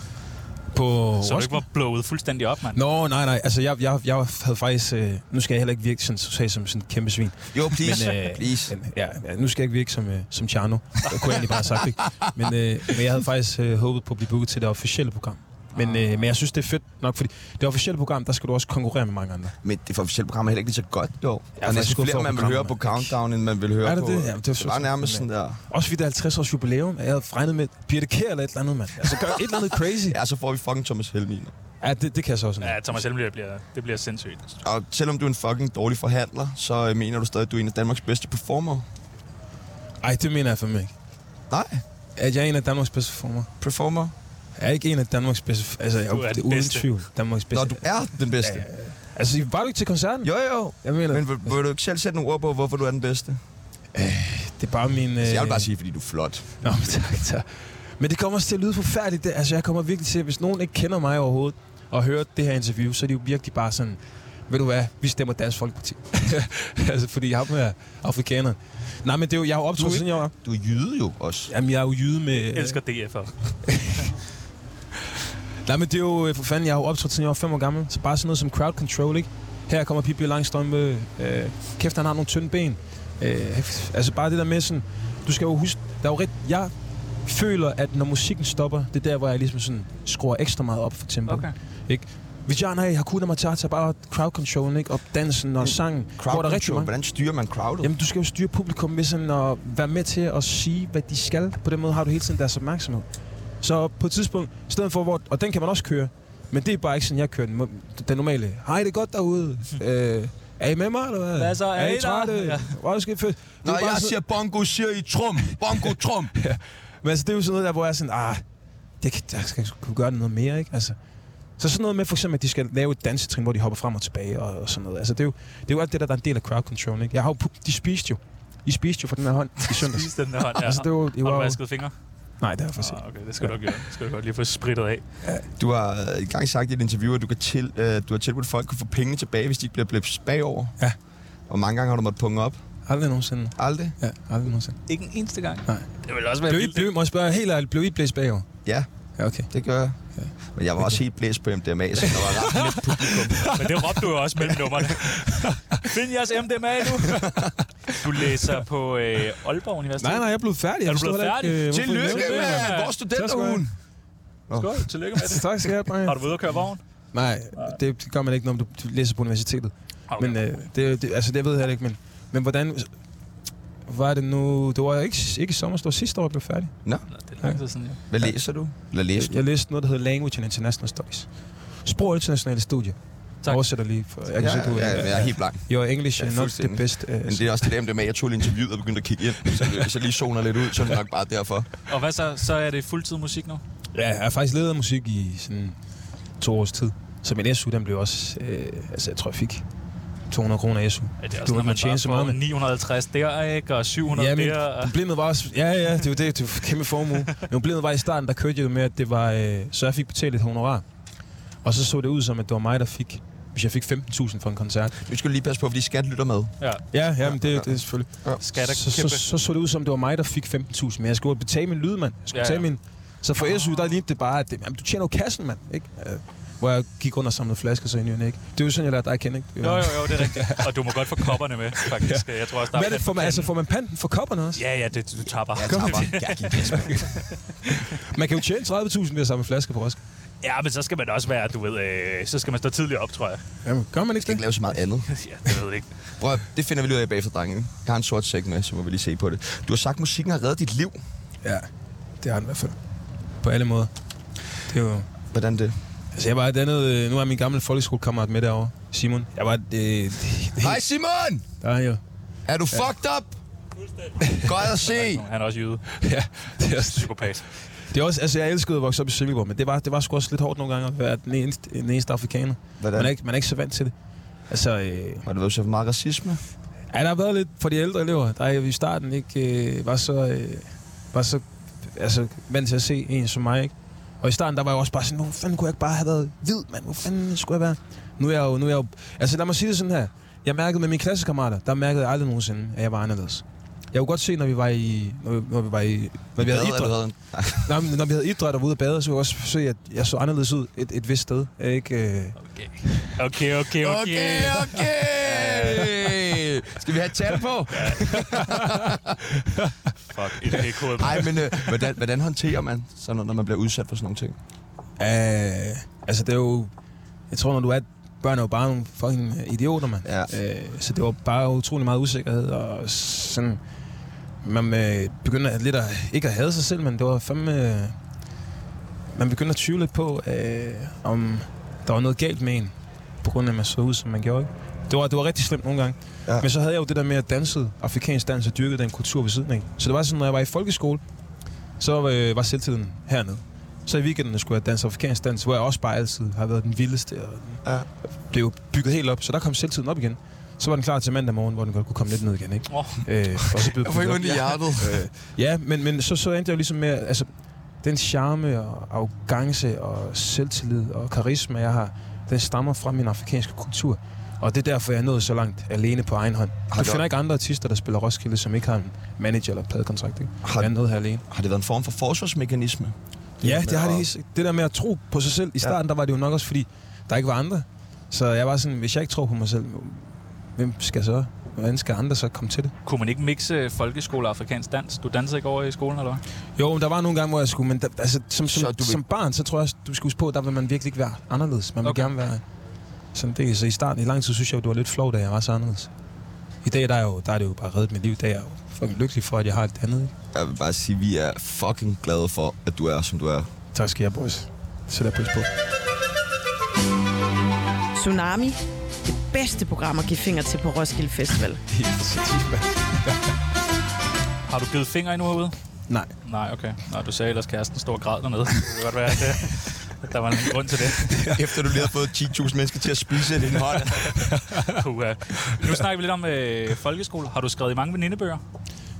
på Så du ikke var blået fuldstændig op, mand. Nå, nej, nej. Altså, jeg, jeg, jeg havde faktisk... Øh, nu skal jeg heller ikke virke sådan, social som sådan en kæmpe svin. Jo, please. Men, Men, øh, please. Men, ja, ja, nu skal jeg ikke virke som, øh, som Tjerno. Det kunne jeg egentlig bare have sagt, ikke? Men, øh, men jeg havde faktisk øh, håbet på at blive booket til det officielle program. Men, øh, men jeg synes, det er fedt nok, fordi det officielle program, der skal du også konkurrere med mange andre. Men det for officielle program er heller ikke lige så godt, jo. er Ja, og næsten skuffet flere, over man vil programmet, høre på mand. Countdown, end man vil høre Er det på... det? Jamen, det er det var så- nærmest sådan der... Også fordi det er 50 års jubilæum. Jeg havde regnet med Birte Kjær eller et eller andet, mand. Altså, gør et eller andet crazy. Ja, så får vi fucking Thomas Helmin. Ja, det, det kan jeg så også. Ja, Thomas Helmley, det bliver, det bliver sindssygt. Og selvom du er en fucking dårlig forhandler, så øh, mener du stadig, at du er en af Danmarks bedste performer. Ej, det mener jeg fandme ikke. Nej, At jeg er en af Danmarks bedste former. performer. Jeg er ikke en af Danmarks bedste... Altså, jeg, Du er det er den uden bedste. tvivl. Danmarks bedste. Nå, du er den bedste. Ja, Altså, var du ikke til koncerten? Jo, jo. Jeg mener, Men vil, vil du ikke selv sætte nogle ord på, hvorfor du er den bedste? det er bare min... Øh... Så jeg vil bare sige, fordi du er flot. Nå, men tak, tak. Men det kommer også til at lyde forfærdeligt. Det. Altså, jeg kommer virkelig til, at hvis nogen ikke kender mig overhovedet, og hører det her interview, så er de jo virkelig bare sådan, ved du hvad, vi stemmer Dansk Folkeparti. altså, fordi jeg er afrikaner. Nej, men det er jo, jeg har jo Du er optrådt, siden jeg var... Du er jyde jo også. Jamen, jeg er jo jyde med... Jeg elsker DF'er. Nej, men det er jo øh, for fanden, jeg har jo optrådt, siden jeg var fem år gammel. Så bare sådan noget som crowd control, ikke? Her kommer Pippi Langstrømpe. Øh, kæft, han har nogle tynde ben. Øh, altså bare det der med sådan... Du skal jo huske... Der er jo rigt, jeg føler, at når musikken stopper, det er der, hvor jeg ligesom sådan skruer ekstra meget op for tempoet. Okay. Ikke? Vijana Hakuna Matata, bare crowd control, ikke? Og dansen og sangen. Mm. Crowd hvor der er rigtig control. mange. Hvordan styrer man crowdet? Jamen, du skal jo styre publikum ved sådan at være med til at sige, hvad de skal. På den måde har du hele tiden deres opmærksomhed. Så på et tidspunkt, i stedet for hvor... Og den kan man også køre. Men det er bare ikke sådan, jeg kører den, Må- den normale. Hej, det er godt derude. øh, er I med mig, eller hvad? Hvad så? Er er I I der?" trætte? Ja. Ja. Hvor skal I fedt? Når jeg siger bongo, siger I trum. Bongo, trum. Men altså, det er jo sådan noget der, hvor jeg er sådan, ah, det kan, jeg skal kunne gøre noget mere, ikke? Altså, så sådan noget med for eksempel, at de skal lave et dansetrin, hvor de hopper frem og tilbage og, og sådan noget. Altså, det er, jo, det er jo alt det, der, der er en del af crowd control, ikke? Jeg har jo, pu- de spiste jo. I spiste jo fra den her hånd i søndags. Spis den der hånd, ja. Altså, det var, det Har du var, vasket fingre? nej, det har jeg for sent. Ah, okay, det skal du ikke gøre. Det skal du godt lige få sprittet af. Du har engang sagt i et interview, at du, kan til, øh, du har tilbudt folk at kunne få penge tilbage, hvis de ikke bliver blæst bagover. Ja. Og mange gange har du måttet punge op. Aldrig nogensinde. Aldrig? Ja, aldrig nogensinde. Ikke en eneste gang. Nej. Det vil også være Blev I, vildt. blev, I- må jeg spørge helt ærligt, blev I blæst bagover? Ja, Ja, okay. det gør jeg. Ja. Men jeg var også helt blæst på MDMA, så der var ret lidt publikum. Men det råbte du jo også mellem nummerne. Find jeres MDMA nu. Du læser på øh, Aalborg Universitet. Nej, nej, jeg er blevet færdig. Jeg Er du forstår blevet heller færdig? ikke, øh, hvorfor I Tillykke, nævner det. mand! Hvor er studenterhugen? Skål, tillykke med det. Tak skal jeg have, Har drenge. du været ude at køre vogn? Nej, det det gør man ikke, når du du læser på universitetet. Okay. Men øh, det, det, altså, det ved jeg heller ikke, men, men hvordan... Var det nu... Det var ikke, ikke i sommer, det var sidste år, jeg blev færdig. Nå, det er lang tid siden, ja. Hvad læser du? Eller læser du? Jeg læste noget, der hedder Language and International Studies. Sprog og internationale studier. Tak. Oversætter lige. For, jeg kan Ja, se, du, ja, ja, jeg er helt blank. Your English Ja, is not the fuldstændig. best. Uh, Men det er også det der MDMA, jeg tog lige interviewet og begyndte at kigge ind. Så, det- så lige zoner lidt ud, så er det nok bare derfor. Og hvad så? Så er det fuldtid musik nu? Ja, jeg har faktisk levet af musik i sådan to års tid. Så min SU, den blev også... Øh, altså, jeg tror, jeg fik 200 kroner SU. Ja, det er Du også, har når man tjene så bare meget, får men- 950 der, ikke? Og 700 Ja, men der. og- problemet var også... Ja, ja, det var det. Det var kæmpe formue. Men problemet var i starten, der kørte jeg jo med, at det var... Øh, så jeg fik betalt et honorar. Og så så det ud som, at det var mig, der fik... Hvis jeg fik 15.000 for en koncert. Nu skal du lige passe på, fordi skat lytter med. Ja, Ja, ja, men det, det er selvfølgelig... skat er så, så, kæmpe. så, så, det ud som, det var mig, der fik 15.000. Men jeg skulle jo betale min lyd, mand. Jeg skulle Ja, betale ja. min... Så for SU, der lignede det bare, at det, jamen, du tjener jo kassen, mand. Ikke? Øh, Hvor jeg gik rundt og samlede flasker, så i ny og næ, ikke? Det er jo sådan, jeg lærte dig at kende, ikke? Det Jo, var- jo, jo, det er rigtigt. Og du må godt få kopperne med, faktisk. Jeg tror også, der Hvad er det for, pant- altså, får man panten for kopperne også? Ja, ja, det, du tapper. Jeg tapper. Jeg gik ind. Man kan jo tjene 30.000 ved at samle flasker på Roskilde. Ja, men så skal man også være, du ved, øh, så skal man stå tidligt op, tror jeg. Jamen, gør man Jeg ikke kan ikke det? lave så meget andet. Ja, det ved jeg ikke. Prøv, at- det finder vi lige ud af bagefter, drenge. Jeg har en sort sæk med, så må vi lige se på det. Du har sagt, at musikken har reddet dit liv. Ja, det er han i hvert fald. På alle måder. Det er jo... Hvordan det? Altså, jeg var et andet... øh, Nu er min gamle folkeskolekammerat med derovre, Simon. Jeg var et, øh, Hej Simon! Der er han jo. Er du fucked up? Godt at se. Han er også jyde. Ja, det er også, Psykopat. det er også, altså jeg elskede at vokse op i Silkeborg, men det var, det var sgu også lidt hårdt nogle gange at være den eneste, den eneste afrikaner. Man er, Hvordan? ikke, man er ikke så vant til det. Altså, øh, Har du været så for meget racisme? Ja, der har været lidt for de ældre elever, der i starten ikke øh, var så, øh, var så altså, vant til at se en som mig. Ikke? Og i starten, der var jeg også bare sådan, hvor fanden kunne jeg ikke bare have været hvid, mand? Hvor fanden skulle jeg være? Nu er jeg jo, nu er jeg jo... Altså, lad mig sige det sådan her. Jeg mærkede med mine klassekammerater, der mærkede jeg aldrig nogensinde, at jeg var anderledes. Jeg kunne godt se, når vi var i... Når vi, når vi var i... Når vi havde Hvad, idræt, eller hvad? når, når vi havde idræt og var ude at bade, så kunne jeg også se, at jeg så anderledes ud et, et vist sted. Ikke? Øh, Okay, okay, okay. Okay, okay! Skal vi have et tal på? Fuck, et ekko. Nej, men øh, hvordan, hvordan håndterer man sådan noget, når man bliver udsat for sådan nogle ting? Øh, altså, det er jo... Jeg tror, når du er... Børn er jo bare nogle fucking idioter, mand. Ja. Øh, så det var bare utrolig meget usikkerhed, og sådan... Man øh, begynder lidt at... Ikke at hade sig selv, men det var fandme... Øh, man begynder at tvivle lidt på, øh, om der var noget galt med en, på grund af, at man så ud, som man gjorde, ikke? Det var, det var rigtig slemt nogle gange. Ja. Ja. Men så havde jeg jo det der med at danse afrikansk dans og dyrke den kultur ved siden af. Så det var sådan, når jeg var i folkeskole, så øh, var selvtiden hernede. Så i weekenden skulle jeg danse afrikansk dans, hvor jeg også bare altid har været den vildeste. Og den Ja. ja. blev jo bygget helt op, så der kom selvtiden op igen. Så var den klar til mandag morgen, hvor den godt kunne komme lidt ned igen, ikke? Åh. Øh, for så blev den bygget op. hjertet. Øh, Ja, men, men så, så endte jeg jo ligesom med, altså, den charme og arrogance og selvtillid og karisma, jeg har, den stammer fra min afrikanske kultur. Og det er derfor, jeg er nået så langt alene på egen hånd. Har Du du- finder ikke andre artister, der spiller Roskilde, som ikke har en manager eller pladekontrakt. Ikke? Har- Jeg er nået her alene. Har det været en form for forsvarsmekanisme? Ja, det har det Og- helt sikkert. Det der med at tro på sig selv. I starten, der var det jo nok også, fordi der ikke var andre. Så jeg var sådan, hvis jeg ikke tror på mig selv, hvem skal så? Hvordan skal andre så komme til det? Kunne man ikke mixe øh, folkeskole og afrikansk dans? Du dansede ikke over i skolen, eller hvad? Jo, men der var nogle gange, hvor jeg skulle, men der, altså, som, som, Så så du vil- som barn, så tror jeg, også, du skal huske på, der vil man virkelig ikke være anderledes. Man vil Okay. okay. gerne være sådan det. Så i starten, i lang tid, synes jeg, jo, det var lidt flot, at jeg var så anderledes. I dag, der er, jo, der er det jo bare reddet mit liv. Der er jeg jo fucking lykkelig for, at jeg har et andet. ikke? Jeg vil bare sige, at vi er fucking glade for, at du er, som du er. Tak skal jeg, boys. Så der pris på. Tsunami. Det bedste program at give fingre til på Roskilde Festival. Helt sindssygt, mand. Har du givet fingre endnu herude? Nej. Nej, okay. Nå, du sagde ellers, kæresten står og græd dernede. Det kunne godt være, at øh, at der var en grund til det. Efter du lige har fået 10.000 mennesker til at spise i din hånd. Puha. Nu snakker vi lidt om øh, folkeskole. Har du skrevet i mange venindebøger?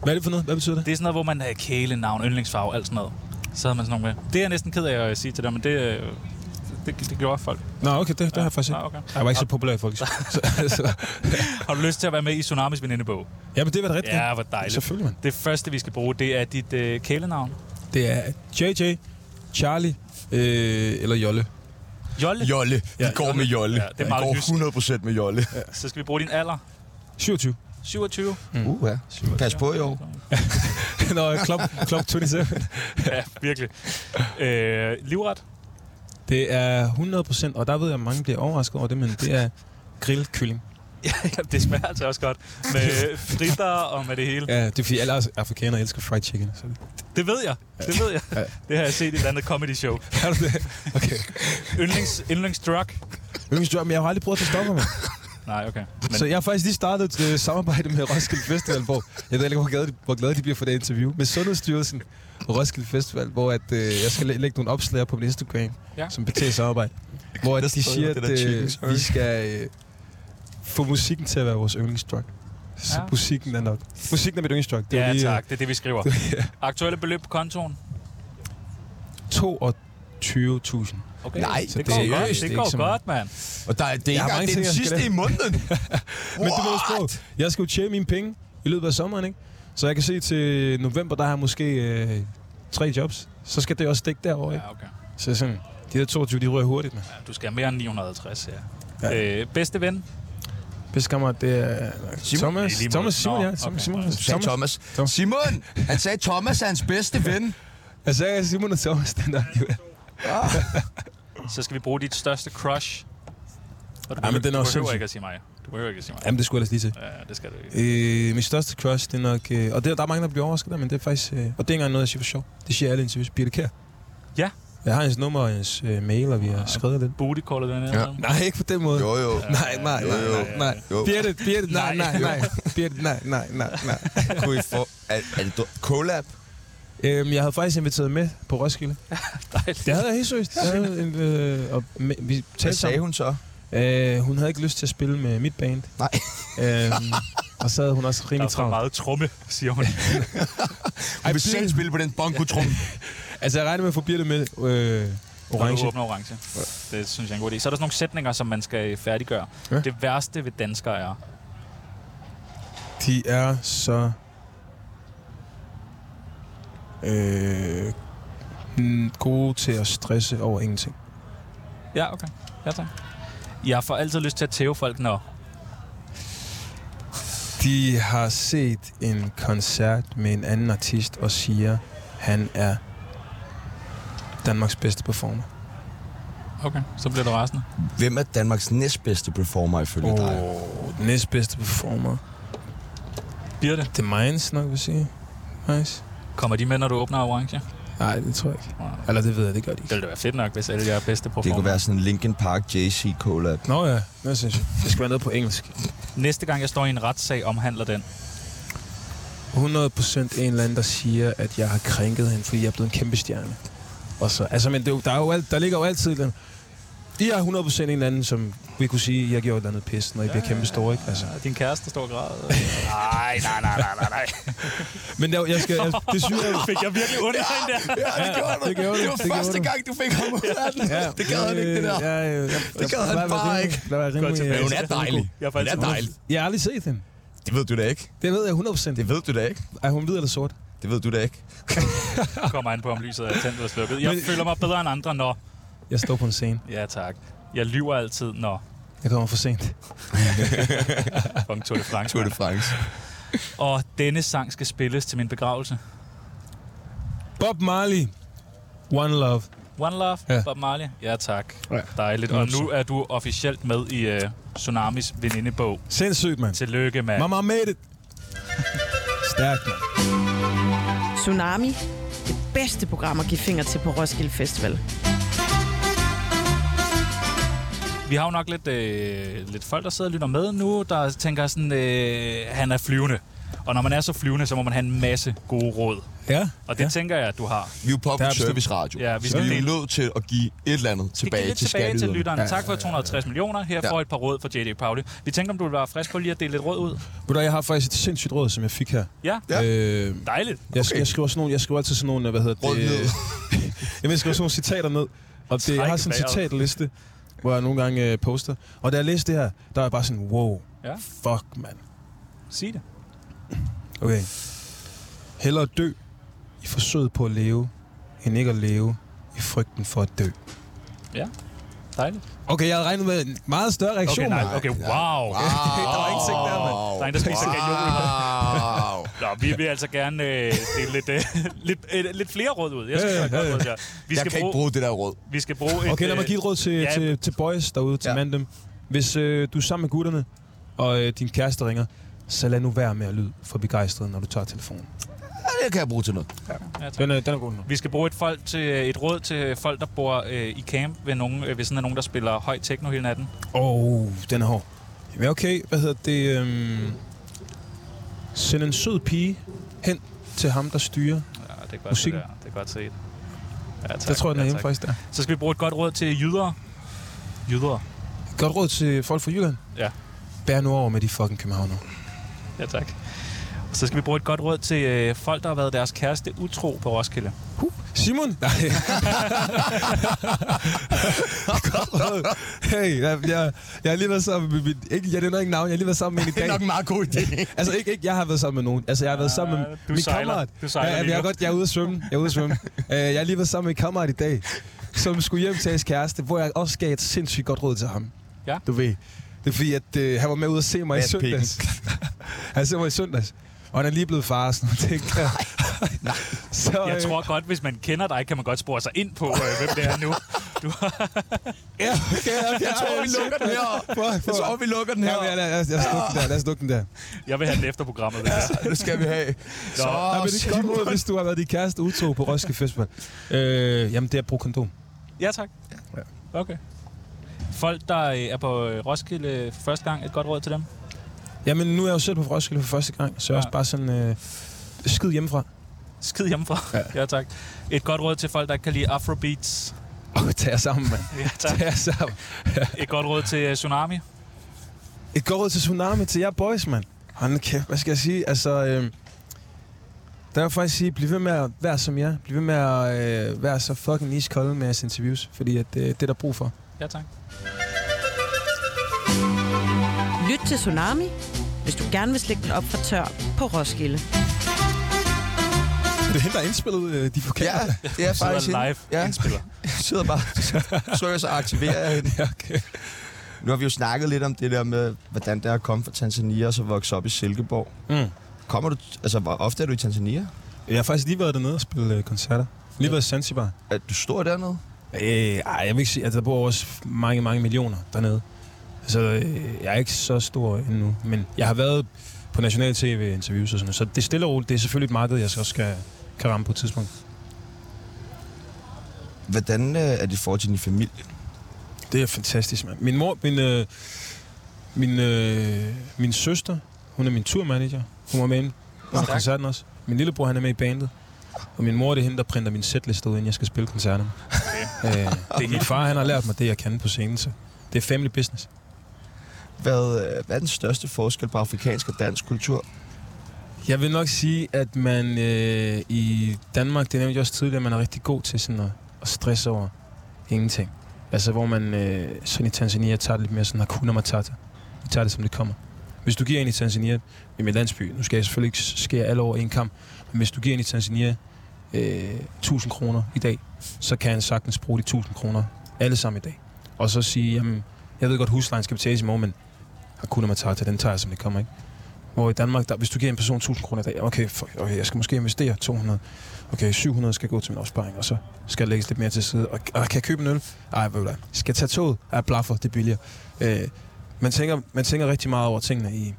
Hvad er det for noget? Hvad betyder det? Det er sådan noget, hvor man har kælenavn, yndlingsfarve, alt sådan noget. Så havde man sådan nogle med. Det er jeg næsten ked af at sige til dig, men det, øh, det, det gjorde folk. Nå, okay, det, det har jeg faktisk Nå, ikke. okay. Jeg var ikke så populær i folk. Har du lyst til at være med i Tsunamis venindebog? ja, men det var da rigtigt. Ja, hvor dejligt. Selvfølgelig, mand. Det første, vi skal bruge, det er dit øh, kælenavn. Det er JJ, Charlie øh, eller Jolle. Jolle. Jolle. Vi Ja, går med Jolle. Ja, det er meget vi går jysk. 100% med Jolle. Så skal vi bruge din alder. 27. 27. Uh, ja. Pas på i år. Nå, klop, klop 27. ja, virkelig. Øh, livret. Det er 100%, og der ved jeg, at mange bliver overrasket over det, men det er grillkylling. Ja, det smager altså også godt. Med fritter og med det hele. Ja, det er fordi alle os afrikanere elsker fried chicken. Så. Det ved jeg. Det ved jeg. Ja. Det har jeg set i et eller andet comedy show. Er du det? Okay. Yndlings, yndlingsdrug. Yndlingsdrøm, men jeg har aldrig prøvet at stoppe mig. Nej, okay. Men, Så jeg har faktisk lige startet et øh, samarbejde med Roskilde Festival, hvor jeg ved ikke, hvor glade, de, hvor glade de bliver for det interview, med Sundhedsstyrelsen og Roskilde Festival, hvor at, øh, jeg skal læ- lægge nogle opslag på min Instagram, Ja. ja. som betalt samarbejde, hvor at de stadig siger, om det at der chicken, øh, sorry. vi skal øh, få musikken til at være vores yndlingsdrug. Så Ja. musikken er nok. Musikken er mit yndlingsdrug. Det er ja, jo lige, øh, tak. Det er det, vi skriver. Aktuelle beløb på kontoen. 22.000. Okay. Nej, det, så det det går er godt. seriøst, Det det er går ikke så meget. godt, mand. Og der, er- det er ikke har mange engang det er den ting, jeg skal sidste lave. i måneden. Men det må jeg huske på. Jeg skal jo tjene mine penge i løbet af sommeren, ikke? Så jeg kan se til november, der har jeg måske øh, tre jobs. Så skal det også stikke derovre, ikke? Ja, okay. Så sådan, de der 22, de rører hurtigt, med. Ja, du skal have mere end 950, ja. Ja. Øh, bedste ven? Bedste kammerat, det er Simon. Thomas. Det er lige Thomas måde. Simon, Nå, ja. Thomas, okay. Simon. Sagde Thomas. Thomas. Thomas. Simon! Han sagde, Thomas er hans bedste ven. Altså, Jeg sagde Simon og Thomas, den der. Så skal vi bruge dit største crush. Og du Ja, men den er du også behøver sindssyg. ikke at sige mig. Du behøver ikke at sige mig. Jamen, det skulle jeg ellers lige til. Ja, det skal du ikke. Øh, min største crush, det er nok... Øh, og det, der er mange, der bliver overrasket der, men det er faktisk... Øh, og det er ikke engang noget, jeg siger for sjov. Det siger alle i interviews. Birte Kær. Ja. Jeg har hans nummer og hans øh, mail, og vi har skrevet lidt. Booty caller den her. Ja. Ja. Nej, ikke på den måde. Jo, jo. Nej, nej, nej, Jo, jo. nej, nej. Jo. Birte, Birte, nej, Nej. nej, nej. Birte, nej, nej, nej, nej. Kunne I få... Er, er det du- collab? Øhm, jeg havde faktisk inviteret med på Roskilde. Det havde jeg helt seriøst. Jeg havde, en, øh, og med, vi Hvad talte sagde sammen. hun så? Hun? Øh, hun havde ikke lyst til at spille med mit band. Nej. Øhm, og så havde hun også Der rimelig er for travlt. meget trumme, siger hun. Hun vil Birte- selv spille på den bonkotrum. Altså, jeg regner med at få Birte med øh, Orange. orange. åbner orange. Det synes jeg er en god idé. Så er der sådan nogle sætninger, som man skal øh, færdiggøre. Ja. Ja. Det værste ved danskere er... De er så... Øh, mm, gode til at stresse over ingenting. Ja, okay. Ja, tak. Jeg får altid lyst til at tæve folk, når... De har set en koncert med en anden artist og siger, han er Danmarks bedste performer. Okay, så bliver det resten. Hvem er Danmarks næstbedste performer ifølge dig? Oh, næstbedste performer. Birte, Det er Minds nok, vil jeg sige. Minds? kommer de med, når du åbner orange? Nej, det tror jeg ikke. Wow. Eller det ved jeg, det gør de Det ikke. ville da være fedt nok, hvis alle jer bedste performer. Det kunne være sådan en Linkin Park JC collab. Nå ja, det synes jeg. Det skal være noget på engelsk. Næste gang, jeg står i en retssag, omhandler den. 100% en eller anden, der siger, at jeg har krænket hende, fordi jeg er blevet en kæmpe stjerne. Og så, altså, men det, er jo- der, er jo alt, der ligger jo altid den. I er 100% en eller anden, som vi kunne sige, at jeg gjorde et eller andet pis, når I bliver kæmpe store, ikke? Altså. Din kæreste står og græder. Nej, nej, nej, nej, nej, nej. Men jeg, jeg skal, jeg, det synes jeg jo. Fik jeg virkelig ondt af den der? Ja, det gjorde det gjorde du. Det gjorde du. gang, du fik ham ud af den. Ja, ja, ja, Det gad han bare ikke. Der var rimelig, Men hun øh, er dejlig. Jeg er Hun faktisk er dejlig. jeg har aldrig set hende. Det ved du da ikke. Det ved jeg 100%. Det ved du da ikke. Er hun hvid eller sort? Det ved du da ikke. kommer an på, om lyset er tændt eller slukket. Jeg Men- føler mig bedre end andre, når... Jeg står på en scene. Ja, tak. Jeg lyver altid, når... Jeg kommer for sent. Fucking Tour de France. Tour de France. Og denne sang skal spilles til min begravelse. Bob Marley. One Love. One Love, ja. Ja. Bob Marley. Ja, tak. Ja. Dejligt. Og nu er du officielt med i uh, Tsunamis venindebog. Sindssygt, mand. Tillykke, mand. Mama made it. Stærkt, mand. Tsunami. Det bedste program at give fingre til på Roskilde Festival. Vi har jo nok lidt, øh, lidt folk, der sidder og lytter med nu, der tænker sådan, øh, han er flyvende. Og når man er så flyvende, så må man have en masse gode råd. Ja. Og det ja. tænker jeg, at du har. Vi er jo Der public er bestemt- service radio. Ja, vi så skal vi er dele- nødt til at give et eller andet Det giver tilbage lidt til tilbage til skatteyderne. lytteren. Ja, tak for 260 millioner. Her Ja. får et par råd fra JD Pauli. Vi tænker, om du vil være frisk på lige at dele lidt råd ud. Ved du, hvad, jeg har faktisk et sindssygt råd, som jeg fik her. Ja, Ja. Øh, dejligt. jeg, okay. jeg, skriver sådan nogle, jeg skriver altid sådan nogle, hvad hedder Råd det? ned. Jamen, jeg skriver sådan nogle citater ned. Og det, jeg har sådan en vejret. citatliste, hvor jeg nogle gange øh, poster. Og da jeg læste det her, der var jeg bare sådan, wow, Ja. fuck, mand. Sig det. Okay. Hellere dø i forsøget på at leve, end ikke at leve i frygten for at dø. Dejligt. Okay, jeg havde regnet med en meget større reaktion. Okay, nej. Okay, wow. Der var ikke ting der, mand. Der er en, der spiser gajol. Ah. Wow. Nå, vi vil altså gerne øh, dele lidt, øh, lidt, øh, lidt flere råd ud. Jeg synes, det er et godt råd, der. Vi Jeg skal kan ikke bruge, bruge det der råd. vi skal bruge et, Okay, lad mig øh, give et råd til, ja. ja. til, til boys derude, til Ja. ja. mandem. Hvis øh, du er sammen med gutterne, og øh, din kæreste ringer, så lad nu være med at lyde for begejstret, når du tager telefonen. Ja, det kan jeg bruge til noget. Den er, den er god nu. Vi skal bruge et, folk til, et råd til folk, der bor øh, i camp ved, nogen, øh, ved sådan af nogen, der spiller høj techno hele natten. Åh, oh, den er hård. Jamen okay, hvad hedder det? Øhm, send en sød pige hen til ham, der styrer. Ja, det er godt Musikken. det der. Det er godt set. Ja, tak. Der tror jeg, den er ja, hjemme tak. faktisk der. Så skal vi bruge et godt råd til jyder. Jyder. Godt råd til folk fra Jylland. Ja. Bær nu over med de fucking københavnere. Ja, tak. Så skal vi bruge et godt råd til øh, folk, der har været deres kæreste utro på Roskilde. Simon? Nej. Godt råd. hey, jeg, jeg, jeg har lige været sammen med min... Ikke, jeg nævner ikke navn, jeg har lige været sammen med en i Det er dag. nok en meget god idé. Altså ikke, ikke jeg har været sammen med nogen. Altså jeg har været sammen med Ah, du min sejler. kammerat. Du sejler lige ja, jeg, jeg, er nu. godt, jeg er ude at svømme. Jeg er ude at svømme. uh, jeg har lige været sammen med en kammerat i dag, som skulle hjem til hans kæreste, hvor jeg også gav et sindssygt godt råd til ham. Ja. Du ved. Det er fordi, at øh, han var med ude at se mig i Bad picken. søndags. han så mig i søndags. Og han er lige blevet far og sådan noget. ting. Nej, nej. Så, Jeg øh, tror godt, hvis man kender dig, kan man godt spore sig ind på, øh, hvem det er nu. Ja, okay, okay. Jeg tror, vi lukker den her. Jeg tror, vi lukker den Ja, her. men lad, lad, os- lad os lukke den der. Lad os lukke den der. Jeg vil have den efter programmet. Det der. Det skal vi have. Så, Oh, Nej, men det er godt råd, hvis du har været din kæreste utro på Roskilde Festival. Øh, jamen, det er at bruge kondom. Ja, tak. Okay. Folk, der øh, er på øh, Roskilde for første gang, et godt råd til dem. Jamen, nu er jeg jo selv på Roskilde for første gang, så jeg er Ja. også bare sådan... Øh, skid hjemmefra. Skid hjemmefra. Ja. ja, tak. Et godt råd til folk, der ikke kan lide afrobeats. Åh, oh, tag jer sammen, mand. Ja, Tag jer sammen. Et godt råd til øh, Tsunami. Et godt råd til Tsunami, til jer boys, mand. Hold nu kæft, hvad skal jeg sige? Altså, øh, der vil jeg faktisk sige, bliv ved med at være som jer. Bliv ved med at øh, være så fucking iskold med jeres interviews, fordi at, øh, det er der brug for. Ja, tak. Lyt til Tsunami, hvis du gerne vil slække den op fra tør på Roskilde. Det er hende, der har indspillet øh, de ja, vokaler. det er Sidder faktisk hende. live Ja. ja. indspiller. Jeg sidder bare søger sig og aktiverer hende. Ja, okay. Nu har vi jo snakket lidt om det der med, hvordan det er at komme fra Tanzania og så vokse op i Silkeborg. Mm. Kommer du, altså hvor ofte er du i Tanzania? Jeg har faktisk lige været dernede og spille øh, koncerter. Lige været i Zanzibar. Er du stor dernede? Øh, ej, jeg vil ikke sige, at der bor også mange, mange millioner dernede. Så øh, jeg er ikke så stor endnu, men jeg har været på national tv-interviews og sådan noget, så det er stille og roligt. Det er selvfølgelig et marked, jeg så også skal, kan ramme på et tidspunkt. Hvordan øh, er det for til din familie? Det er fantastisk, mand. Min mor, min, øh, min, øh, min søster, hun er min turmanager. Hun var med inde på koncerten også. Min lillebror, han er med i bandet. Og min mor, det er hende, der printer min setliste ud, inden jeg skal spille koncerterne. Okay. Øh, det er min far, han har lært mig det, jeg kan på scenen, så det er family business. Hvad, øh, hvad er den største forskel på afrikansk og dansk kultur? Jeg vil nok sige, at man øh, i Danmark, det nævnte jeg også tidligere, man er rigtig god til sådan at, at stresse over ingenting. Altså hvor man øh, sådan i Tanzania tager det lidt mere sådan hakuna matata. Vi tager det, som det kommer. Hvis du giver ind i Tanzania, i min landsby, nu skal jeg selvfølgelig ikke skære alle over en kamp, men hvis du giver ind i Tanzania øh, 1000 kroner i dag, så kan han sagtens bruge de 1000 kroner alle sammen i dag. Og så sige, jamen, jeg ved godt, huslejen skal betales i morgen, men hakuna matata, den tager jeg, som det kommer, ikke? Hvor i Danmark, der, hvis du giver en person 1000 kroner i dag, okay, fuck, okay, jeg skal måske investere 200. Okay, 700 skal gå til min opsparing, og så skal jeg lægge lidt mere til side. Og, og kan jeg købe en øl? Ej, hvad vil jeg? Skal jeg tage toget? Ej, blaffer, det er billigere. Øh, man, tænker, man tænker rigtig meget over tingene i,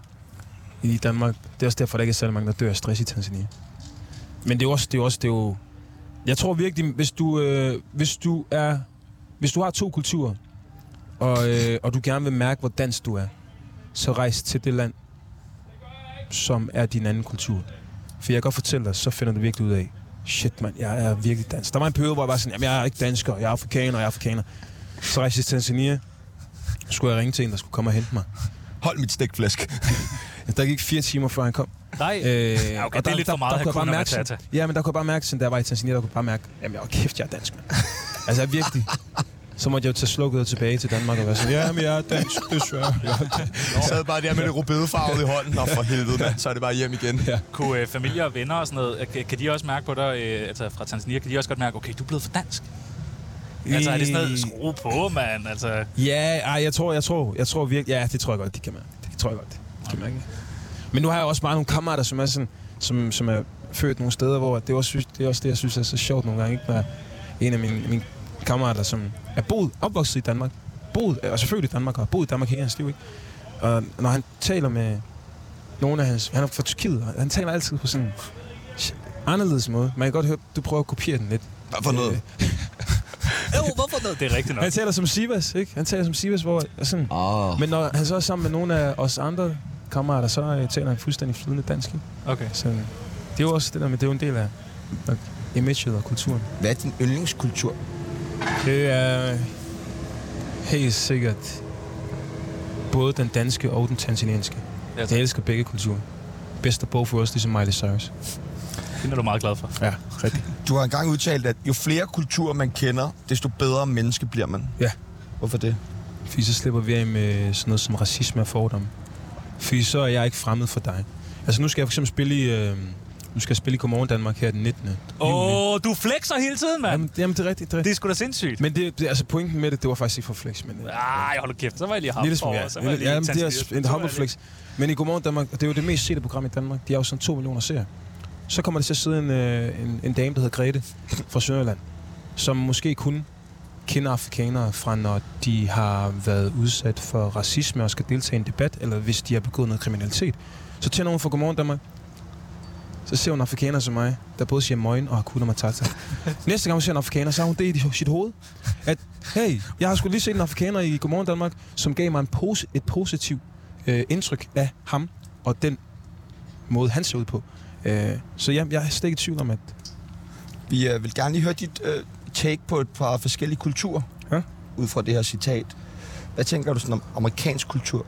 i Danmark. Det er også derfor, der ikke er særlig mange, der dør af stress i Tanzania. Men det er jo også, det er jo, også, det er jo jeg tror virkelig, hvis du, øh, hvis du er, hvis du har to kulturer, og, øh, og du gerne vil mærke, hvor dansk du er, så rejs til det land, som er din anden kultur. For jeg kan godt fortælle dig, så finder du virkelig ud af, shit mand, jeg er virkelig dansk. Der var en periode, hvor jeg var sådan, jamen jeg er ikke dansker, jeg er afrikaner, jeg er afrikaner. Så rejste jeg til Tanzania, Så skulle jeg ringe til en, der skulle komme og hente mig. Hold mit stikflæsk. Der gik fire timer, før han kom. Nej. Øh, Ja, okay, og det er lidt for meget der, kunne Hakuna jeg bare mærke, sådan, Matata. ja, men der kunne jeg bare mærke, sådan, der var i Tanzania, der kunne jeg bare mærke, jamen jeg er kæft, jeg er dansk, mand. altså jeg er virkelig. Så måtte jeg jo tage slukket tilbage til Danmark og være sådan, ja, men jeg er dansk, desværre. Jeg er dansk. Jeg sad bare der med det rødbedefarvede i hånden, og for helvede, mand, så er det bare hjem igen. Ja. Kunne øh, familie og venner og sådan noget, øh, kan- kan de også mærke på dig, øh, altså fra Tanzania, kan de også godt mærke, okay, du er blevet for dansk? Altså er det sådan noget, skru på, mand, altså... Ja, ej, jeg tror, jeg tror, jeg tror virkelig, ja, det tror jeg godt, de kan mærke. Det tror jeg godt, de kan mærke. Men nu har jeg også bare nogle kammerater, som er, sådan, som, som er født nogle steder, hvor det er, også, det er også det, jeg synes er så sjovt nogle gange, ikke? Når en af mine, mine kammerater, som er boet, opvokset i Danmark, boet, og selvfølgelig i Danmark, og har boet i Danmark hele hans liv, ikke? Og når han taler med nogle af hans, han er fra Tyrkiet, og han taler altid på sådan en anderledes måde. Man kan godt høre, du prøver at kopiere den lidt. Hvad for noget? Jo, hvorfor noget? Det er rigtigt nok. Han taler som Sivas, ikke? Han taler som Sivas, hvor og sådan, Åh, oh, men når han så er sammen med nogle af os andre kammerater, så øh, taler han fuldstændig flydende dansk. Ikke? Okay. Så øh, det er jo også det der med, det er jo en del af af imaget og kulturen. hvad er din yndlingskultur? Det er helt sikkert både den danske og den tanzanianske. Ja, tak. Jeg elsker begge kulturer. Bedst af bog for os, ligesom Miley Cyrus. Det er du meget glad for. Ja, rigtigt. Du har engang udtalt, at jo flere kulturer man kender, desto bedre menneske bliver man. Ja. Hvorfor det? Fordi så slipper vi af med sådan noget som racisme og fordomme. Fordi så er jeg ikke fremmed for dig. Altså nu skal jeg for eksempel spille i, øh, nu skal jeg spille i Godmorgen Danmark her den 19. juni. Åh, du flexer hele tiden, mand! Jamen, jamen, det er rigtigt. Det er rigtigt. Det er sgu da sindssygt. Men det, det, altså pointen med det, det var faktisk ikke for flex, men... Ah, jeg holder kæft. Så var jeg lige en ham lille smule, ja. Så var jeg Lille, lige ja, i men det er Tanzania. en Så var jeg humble flex. Men i Godmorgen Danmark, og det er jo det mest sete program i Danmark, de har jo sådan 2 millioner seere. Så kommer der til at sidde en, øh, en, en dame, der hedder Grete fra Sønderjylland, som måske kunne kender afrikanere fra, når de har været udsat for racisme og skal deltage i en debat, eller hvis de har begået noget kriminalitet. Så tænder hun for Godmorgen Danmark. Så ser hun afrikaner som mig, der både siger møgen og hakuna matata. Næste gang hun ser en afrikaner, så har hun det i sit hoved. At, hey, jeg har sgu lige set en afrikaner i Godmorgen Danmark, som gav mig en pose, et positivt øh, indtryk af ham og den måde, han ser ud på. Øh, så ja, jeg er slet ikke i tvivl om, at Vi øh, vil gerne lige høre dit øh, take på et par forskellige kulturer. Ja. Ud fra det her citat. Hvad tænker du sådan om amerikansk kultur?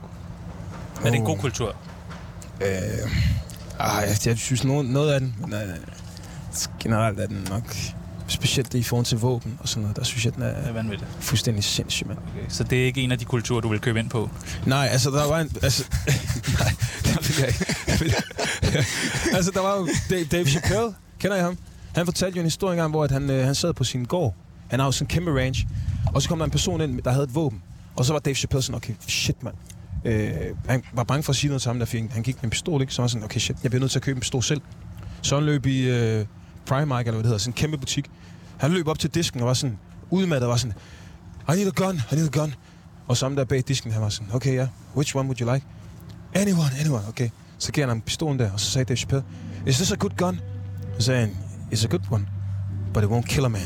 Er det en god kultur? Øh, ah, jeg, jeg synes noget, noget af den, men øh, generelt er den nok, specielt det i forhold til våben og sådan noget, der synes jeg, den Det er er vanvittigt. fuldstændig sindssyg, mand. Okay. Så det er ikke en af de kulturer, du vil købe ind på? Nej, altså der var en... Altså, nej, det vil jeg ikke. altså der var jo Dave, Dave Chappelle, kender I ham? Han fortalte jo en historie engang, hvor at han, øh, han sad på sin gård. Han har jo sådan en kæmpe ranch. Og så kom der en person ind, der havde et våben. Og så var Dave Chappelle sådan, okay, shit mand. Øh, han var bange for at sige noget til ham, der fik, han gik med en pistol, ikke? Så var han sådan, okay shit, jeg bliver nødt til at købe en pistol selv. Så han løb i øh, Primark, eller hvad det hedder, sådan en kæmpe butik. Han løb op til disken og var sådan, udmattet og var sådan, I need a gun, I need a gun. Og sammen der bag disken, han var sådan, okay, ja, yeah. which one would you like? Anyone, anyone, okay. Så gav han ham pistolen der, og så sagde Dave Chappelle, is this a good gun? Så sagde han, it's a good one, but it won't kill a man.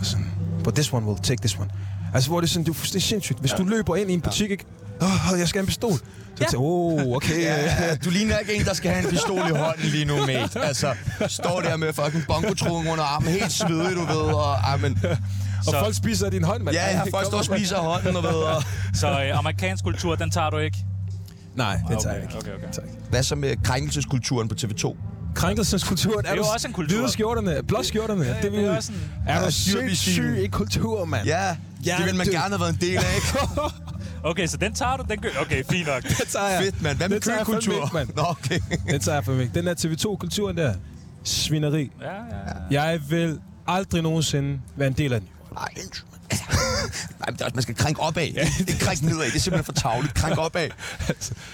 Og sådan, but this one will take this one. Altså, hvor det er sådan, det er fuldstændig sindssygt. Hvis ja. du løber ind i en butik, ikke? Åh, oh, jeg skal have en pistol. Så ja. tænker, jeg, oh, okay. ja, ja. du ligner ikke en, der skal have en pistol i hånden lige nu, mate. Altså, står der med fucking bongotruen under armen, helt svedig, du ved, og ej, men, Og folk spiser af din hånd, mand. ja, jeg har Det først kommer, også mand. spiser hånden, og ved, og... Så øh, amerikansk kultur, den tager du ikke? Nej, det tager jeg Okay, ikke. okay, okay. Tak. Hvad så med krænkelseskulturen på TV2? Krænkelseskulturen. er jo du s- også en kultur. Hvide skjorterne, blå skjorterne. Ja, det er også en- Er Ja, du syrbisvin. sindssyg i kultur, mand? Ja, Ja, ja det vil man det- gerne have været en del af, ikke? Okay, så den tager du? Den gør... Okay, fint nok. Det tager jeg. Fedt, mand. Hvad med Det tager jeg fandme køkultur? ikke, mand. Nå, okay. Den tager jeg for mig. Den der TV2-kulturen der. Svineri. Ja, ja, ja. Jeg vil aldrig nogensinde være en del af den. Nej, Altså. Nej, men det er også, man skal krænke opad. Ikke krænke nedad. Det er simpelthen for tavligt. Krænk opad.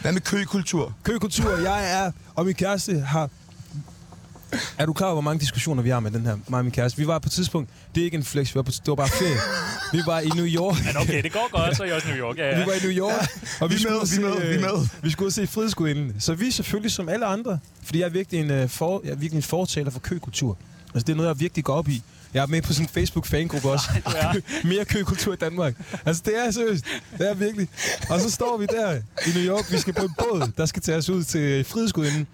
Hvad med køkultur? Køkultur, jeg er, og min kæreste har... Er du klar over, hvor mange diskussioner vi har med den her, mig og min kæreste? Vi var på et tidspunkt, det er ikke en flex, vi var på, det var bare ferie. Vi var i New York. Men okay, det går godt, så er I også New York. Ja, Vi ja. var i New York, og vi, Vi skulle med, ud og vi se, med, vi øh, med. Vi skulle ud og se frihedsgudinden. Så vi er selvfølgelig som alle andre, fordi jeg er virkelig en, øh, for, jeg er virkelig en fortaler for køkultur. Altså, det er noget, jeg virkelig går op i. Jeg er med på sådan en Facebook-fangruppe også. Mere køkultur i Danmark. Altså, det er seriøst. Det er virkelig. Og så står vi der i New York. Vi skal på en båd, der skal tage os ud til frihedsgudinden.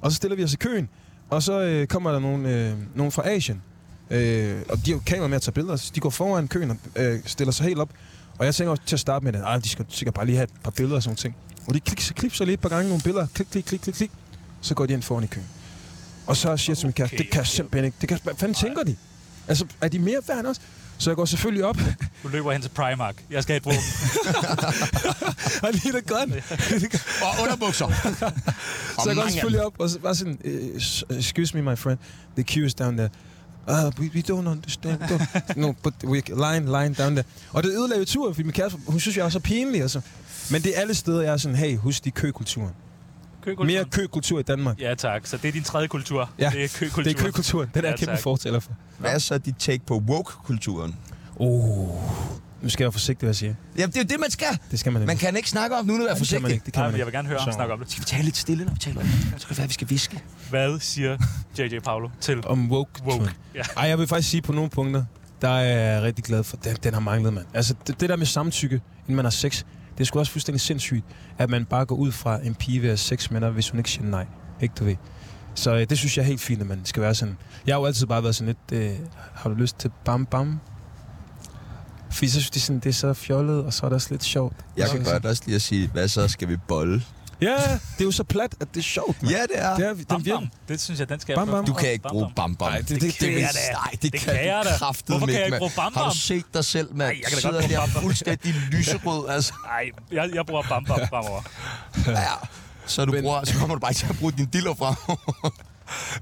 Og så stiller vi os i køen. Og så øh, kommer der nogen, øh, nogen fra Asien. Øh, og de har jo kamera med at tage billeder. Så de går foran køen og øh, stiller sig helt op. Og jeg tænker også til at starte med, at "Ej, de skal sikkert bare lige have et par billeder og sådan nogle ting. Og de klipser, klipser lige et par gange nogle billeder. Klik, klik, klik, klik, klik. Så går de ind foran i køen. Og så siger jeg til min kæreste, det kan jeg simpelthen ikke. Det kan, hvad fanden tænker de? Altså, er de mere værd end os? Så jeg går selvfølgelig op. Du løber hen til Primark. Jeg skal have et våben. Og lige det godt. Og underbukser. Så jeg går mange af dem. selvfølgelig op og så bare sådan, "Øh, s- excuse me, my friend, the queue is down there. Uh, we, we don't understand. Don't. No, but we line, line down there. Og det ødelagde jo turen, fordi min kæreste, hun synes, jeg er så pinlig. Altså. Men det er alle steder, jeg er sådan, hey, husk de køkulturen. Køkultur. Mere køkultur i Danmark. Ja, tak. Så det er din tredje kultur. Ja, Det er køkultur. Det er køkulturen. Den er Ja, jeg kæmpe tak. fortæller for. Hvad er så dit take på woke-kulturen? Oh. Nu skal jeg være forsigtig, hvad jeg siger. Jamen, det er jo det, man skal. Det skal man ikke. Man kan ikke snakke om det, uden at være det kan man forsigtig. ikke. Det kan Nej, man men jeg vil ikke. gerne høre ham Så- snakke om det. Skal vi tale lidt stille, når vi taler om det? Så kan det være, vi skal viske. Hvad siger J.J. Paolo til Om woke. woke? Ja. Ej, jeg vil faktisk sige, på nogle punkter, der er jeg rigtig glad for, den, den har manglet, mand. Altså, det, det der med samtykke, inden man har sex, det er sgu også fuldstændig sindssygt, at man bare går ud fra en pige ved at have sex med dig, hvis hun ikke siger nej. Ikke du ved. Så øh, det synes jeg er helt fint, at man skal være sådan. Jeg har jo altid bare været sådan lidt, øh, har du lyst til bam bam? Fordi så synes de sådan, det er så fjollet, og så er det også lidt sjovt. Jeg Og så- kan godt også lige at sige, hvad så skal vi bolle? Ja, det er jo så plat, at det er sjovt, mand. Ja, det er. Det er, Bam, den virker. bam. Det synes jeg, den skal Bam, bam. Du kan ikke Bam, bruge bam. bam bam. Nej, det- det- det vil- kan jeg da. Nej, det, Det kan, kan du jeg da. kraftedeme Hvorfor kan jeg ikke mand. bruge Bam Har du Bam? set dig selv, mand? Ej, jeg kan da Sidder godt bruge der Bam Bam. fuldstændig lyserød, altså. Nej, jeg, jeg bruger bam, bam fremover. Ja. Så, du Men- bruger, så kommer du bare ikke til at bruge din diller fra.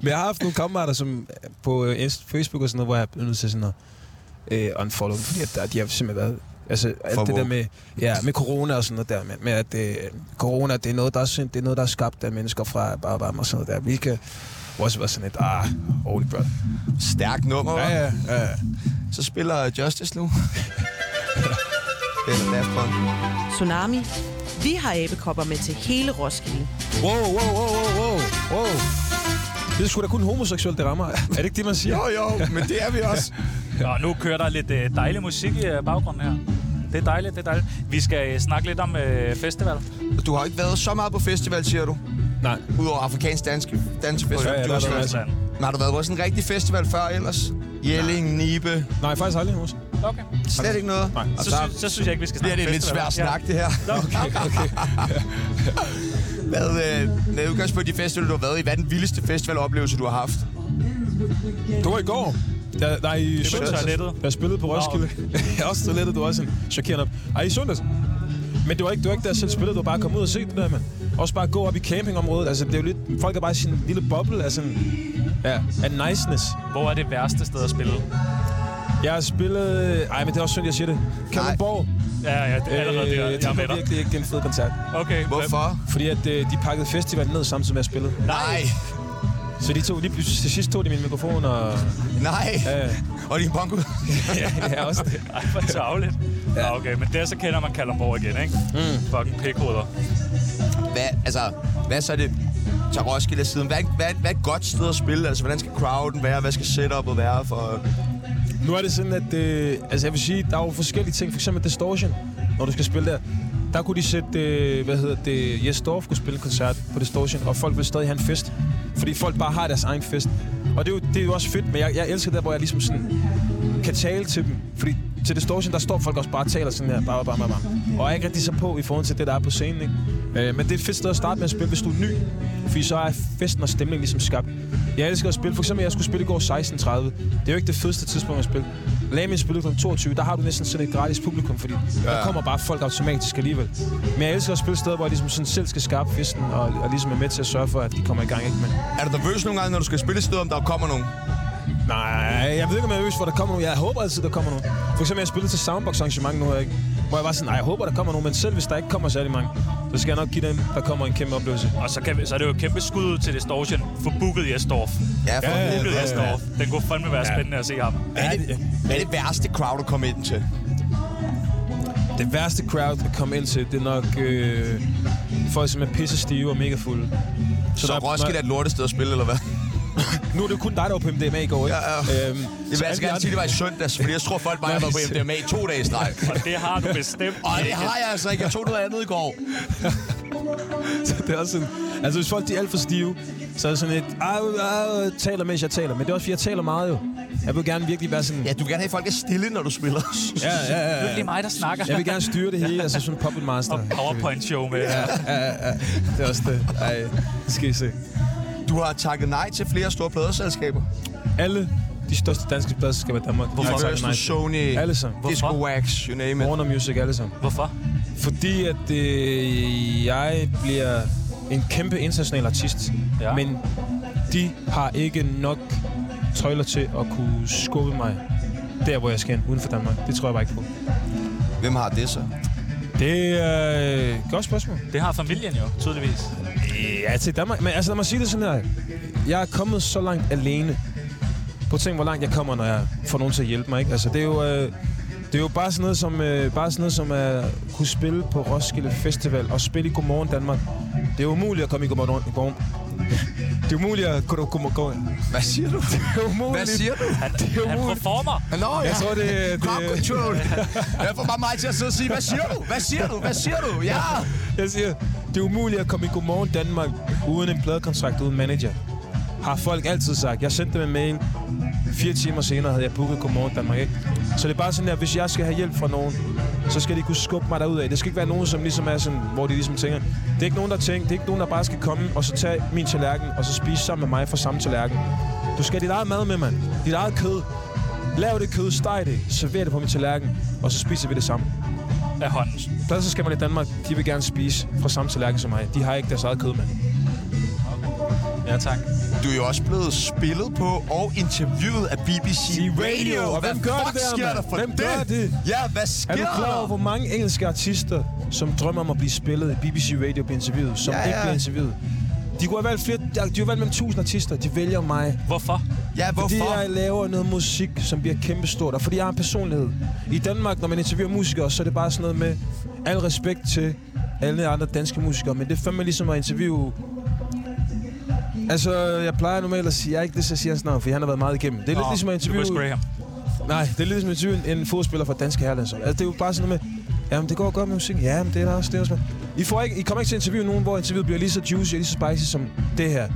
Men jeg har haft nogle kammerater som på øh, Inst- Facebook og sådan noget, hvor jeg er blevet nødt til sådan noget øh, unfollow, dem, fordi at der, de har simpelthen været... Altså alt For det der woke. med, ja, med corona og sådan noget der, med, med at øh, corona, det er, noget, der er, sind, det er noget, der er skabt af mennesker fra bare, bare og sådan noget der. Vi kan, også været sådan et, ah, holy brother. Stærkt nummer, hva'? Ja, ja, ja. ja. Så spiller Justice nu. Eller Daft Punk. Tsunami. Vi har æbekopper med til hele Roskilde. Wow, wow, wow, wow, wow, wow. Det er sgu da kun homoseksuel, det rammer. Er det ikke det, man siger? Jo, jo, men det er vi også. Nå, nu kører der lidt øh, dejlig musik i øh, baggrunden her. Det er dejligt, det er dejligt. Vi skal øh, snakke lidt om øh, festival. Du har ikke været så meget på festival, siger du? Nej. Udover afrikansk dansk dansefestival. Ja, ja, du har der er der været- masser. Men har du været på sådan en rigtig festival før ellers? Jelling, Nibe, Nej, faktisk aldrig hos. Okay. slet ikke noget? Nej. Og Så, så sy- så synes jeg ikke, vi skal bliver snakke det en lidt svær festival. snak, det her. Ja. Okay. Hvad, øh, med udgangspunkt i de festivaler, du har været i, hvad er den vildeste festivaloplevelse, du har haft? Du var i går. Der, nej, i på søndags. toilettet. Jeg spillede på Roskilde. Jeg også toilettet, du er også en chokerende op. Ej, i søndags. Men det var ikke, det var ikke der jeg selv spillede, du var bare kommet ud og se det der, mand. Også bare gå op i campingområdet. Altså, det er jo lidt... Folk er bare i sin lille boble af sådan... Ja, af niceness. Hvor er det værste sted at spille? Jeg har spillet... Ej, men det er også synd, jeg siger det. Kalundborg. Ja, ja, det er allerede der. Jeg er Øh, det med var dig. virkelig ikke det er en fed koncert. Okay. Hvorfor? Fordi at øh, de pakkede festivalen ned samtidig med at spille. Nej, Så de tog lige pludselig... Til sidst tog de min mikrofon og... nej. Ja, ja. Og din bongo. ja, også det. Ej, hvor tavligt. Ja. Okay, men der så kender man Kalundborg igen, ikke? Mm. Fucking pikhoveder. Hvad, altså, hvad så er det til Roskilde siden? Hvad, hvad, hvad er et godt sted at spille? Altså, hvordan skal crowden være? Hvad skal setupet være for... Nu er det sådan, at øh, altså jeg vil sige, der er jo forskellige ting. For eksempel Distortion, når du skal spille der. Der kunne de sætte, øh, hvad hedder det, Jes Dorf kunne spille en koncert på Distortion, og folk vil stadig have en fest. Fordi folk bare har deres egen fest. Og det er jo, det er jo også fedt, men jeg, jeg elsker der, hvor jeg ligesom sådan kan tale til dem. Fordi til Distortion, der står folk også bare og taler sådan her, bare, bare, bare, bare. Og er ikke rigtig så på i forhold til det, der er på scenen, ikke? Øh, men det er et fedt sted at starte med at spille, hvis du er ny. Fordi så er festen og stemningen ligesom skabt. Jeg elsker at spille. For eksempel, jeg skulle spille i går 16.30. Det er jo ikke det fedeste tidspunkt at spille. Lad min spille kl. 22, der har du næsten sådan et gratis publikum, fordi ja. der kommer bare folk automatisk alligevel. Men jeg elsker at spille steder, hvor jeg ligesom sådan selv skal skabe festen, og, og ligesom er med til at sørge for, at de kommer i gang. Ikke? Men Er du nervøs nogle gange, når du skal spille et sted, om der kommer nogen? Nej, jeg ved ikke, om jeg er nervøs for, at der kommer nogen. Jeg håber altid, der kommer nogen. For eksempel, jeg spillede til Soundbox arrangement nu her, ikke? Hvor jeg var sådan, nej, jeg håber, der kommer nogen, men selv hvis der ikke kommer særlig mange, så skal jeg nok give dem, der kommer en kæmpe oplevelse. Og så, kan vi, så er det jo et kæmpe skud ud til Distortion. Få booket Jesdorf. Ja, for ja, helvede. Booket ja, ja. Jesdorf. Den kunne fandme være spændende at se ham. Hvad er, det, hvad er det værste crowd at komme ind til? Det værste crowd at komme ind til, det er nok øh, folk, som er pisse stive og mega fulde. Så, så når- Roskilde er et lortested at spille, eller hvad? Nu er det jo kun dig, der var på MDMA i går, ikke? Ja, ja. Jeg Øhm, vil altså så alle de gerne sige, andre- det var i søndags, fordi jeg tror, folk bare har været på MDMA i to dage i streg. Og det har du bestemt. Og det har jeg altså ikke. Jeg tog noget andet i går. Så det er også sådan, altså hvis folk de er alt for stive, så er det sådan et, "Au, au, taler mens jeg taler. Men det er også, fordi jeg taler meget jo. Jeg vil gerne virkelig være sådan, Ja, du vil gerne have, at folk er stille, når du spiller. ja, ja, ja, ja. Det er lige mig, der snakker. Jeg vil gerne styre det hele, altså sådan en puppet master. Og PowerPoint-show med. Ja. Det er også det. Ej, det skal I se. Du har takket nej til flere store pladeselskaber. Alle de største danske pladserskaber i Danmark. Hvorfor? Universal, Sony, Alle sammen. Disco Wax, you name it. Warner Music, alle sammen. Hvorfor? Fordi at øh, jeg bliver en kæmpe international artist, Ja. ja. men de har ikke nok tøjler til at kunne skubbe mig der, hvor jeg skal hen, uden for Danmark. Det tror jeg bare ikke på. Hvem har det så? Det er øh, et godt spørgsmål. Det har familien jo, tydeligvis. Ja, til Danmark. Men altså, lad mig sige det sådan her. Jeg er kommet så langt alene. Prøv at tænke, hvor langt jeg kommer, når jeg får nogen til at hjælpe mig. Ikke? Altså, det er jo... Øh, det er jo bare sådan noget som, øh, bare sådan noget som at kunne spille på Roskilde Festival og spille i Godmorgen Danmark. Det er umuligt at komme i Godmorgen. Godmorgen. Det er umuligt at kunne... Godmorgen. Godmorgen. Hvad siger du? Det er umuligt. Hvad siger du? Han, er han umuligt. performer. Nå, ja. Jeg tror, det, Crowd det, control. Jeg får bare mig til at sidde og sige, hvad siger du? Hvad siger du? Hvad siger du? Ja. Jeg siger, det er umuligt at komme i Godmorgen Danmark uden en pladekontrakt, uden manager. Har folk altid sagt. Jeg sendte dem en mail. Fire timer senere havde jeg booket Godmorgen Danmark, ikke? Så det er bare sådan her, hvis jeg skal have hjælp fra nogen, så skal de kunne skubbe mig derud af. Det skal ikke være nogen, som ligesom er sådan, hvor de ligesom tænker, det er ikke nogen, der tænker, det er ikke nogen, der bare skal komme og så tage min tallerken og så spise sammen med mig fra samme tallerken. Du skal have dit eget mad med, mand. Dit eget kød. Lav det kød, steg det, server det på min tallerken, og så spiser vi det sammen. Af hånden. Pladser skal man i Danmark, de vil gerne spise fra samme tallerken som mig. De har ikke deres eget kød med. Ja, tak. Du er jo også blevet spillet på og interviewet af BBC Radio. Og hvem Hvad gør det fuck der, sker mand? der for Hvem det? gør det? Ja, hvad sker Er du klar over, der? hvor mange engelske artister, som drømmer om at blive spillet i BBC Radio, bliver interviewet, som Ja, ja, ja. ikke ja. bliver interviewet? De kunne have valgt flere, de har valgt mellem 1000 artister, de vælger mig. Hvorfor? Ja, hvorfor? Fordi jeg laver noget musik, som bliver kæmpestort, og fordi jeg har en personlighed. I Danmark, når man interviewer musikere, så er det bare sådan noget med al respekt til alle andre danske musikere, men det er fandme ligesom at interviewe... Altså, jeg plejer normalt at sige, jeg er ikke det, så jeg siger hans navn, for han har været meget igennem. Det er lidt ligesom at interviewe... Lucas Graham. Nej, det er lidt som interviewen en fodspiller fra danske herrelandshold. Altså, det er jo bare sådan noget med, jamen det går godt med musik, ja, men det er der også, det er også. I, får ikke, I kommer ikke til at interviewe nogen, hvor interviewet bliver lige så juicy og lige så spicy som det her.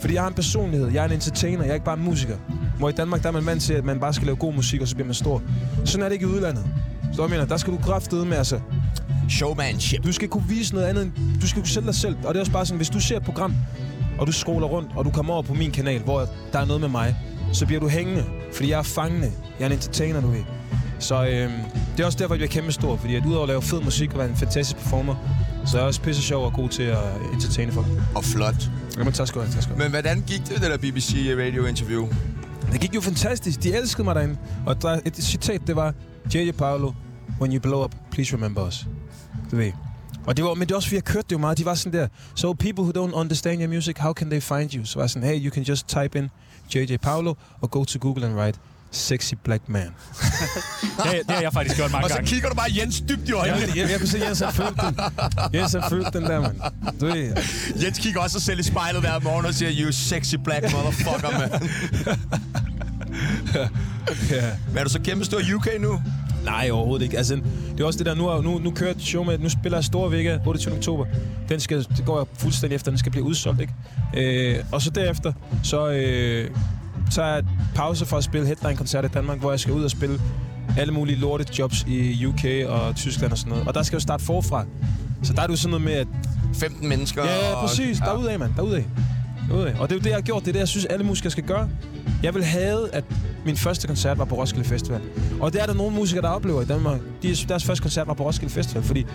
Fordi jeg har en personlighed, jeg er en entertainer, jeg er ikke bare en musiker. Hvor i Danmark, der er man vant til, at man bare skal lave god musik, og så bliver man stor. Sådan er det ikke i udlandet. Så jeg mener, der skal du kraftede med, altså, Showmanship. du skal kunne vise noget andet, end, du skal kunne sælge dig selv. Og det er også bare sådan, hvis du ser et program, og du scroller rundt, og du kommer over på min kanal, hvor der er noget med mig, så bliver du hængende, fordi jeg er fangende. Jeg er en entertainer, du ved. Så øhm, det er også derfor, jeg bliver kæmpe stor, fordi at udover at lave fed musik og være en fantastisk performer, så er jeg også pisse sjov og god til at entertaine folk. Og flot. Jamen, tak skal du have, tak skal du Men have. hvordan gik det, det der BBC Radio interview? Det gik jo fantastisk. De elskede mig derinde. Og der, er et citat, det var, J.J. Paolo, when you blow up, please remember us. Du ved. Og det var, men det var også, fordi jeg kørte det jo meget. De var sådan der, so people who don't understand your music, how can they find you? Så var jeg sådan, hey, you can just type in J.J. Paolo og go to Google and write sexy black man. Det, det har jeg faktisk gjort mange Og så gange. kigger du bare Jens dybt i Jeg, øjnene. jeg, jeg kunne se, at Jens har følt den. Jens har følt den der, mand. Du ved. Jens kigger også sig selv i spejlet hver morgen og siger, you sexy black motherfucker, man. Ja. Men er du så kæmpe stor i UK nu? Nej, overhovedet ikke. Altså, det er også det der, nu, har- nu, nu kører et show med, nu spiller jeg Store Vega 28. oktober. Den skal, det går jeg fuldstændig efter, den skal blive udsolgt, ikke? Øh, og så derefter, så øh, tager jeg pause for at spille headline-koncert i Danmark, hvor jeg skal ud og spille alle mulige lorte jobs i UK og Tyskland og sådan noget. Og der skal jeg jo starte forfra. Så der er det jo sådan noget med, at 15 mennesker. Ja, præcis. Og, Derudad, mand. Derudad. Derudad. Og det er jo det, jeg har gjort. Det er det, jeg synes, alle musikere skal gøre. Jeg vil have, at min første koncert var på Roskilde Festival. Og det er der nogle musikere, der oplever i Danmark. De, deres første koncert var på Roskilde Festival, fordi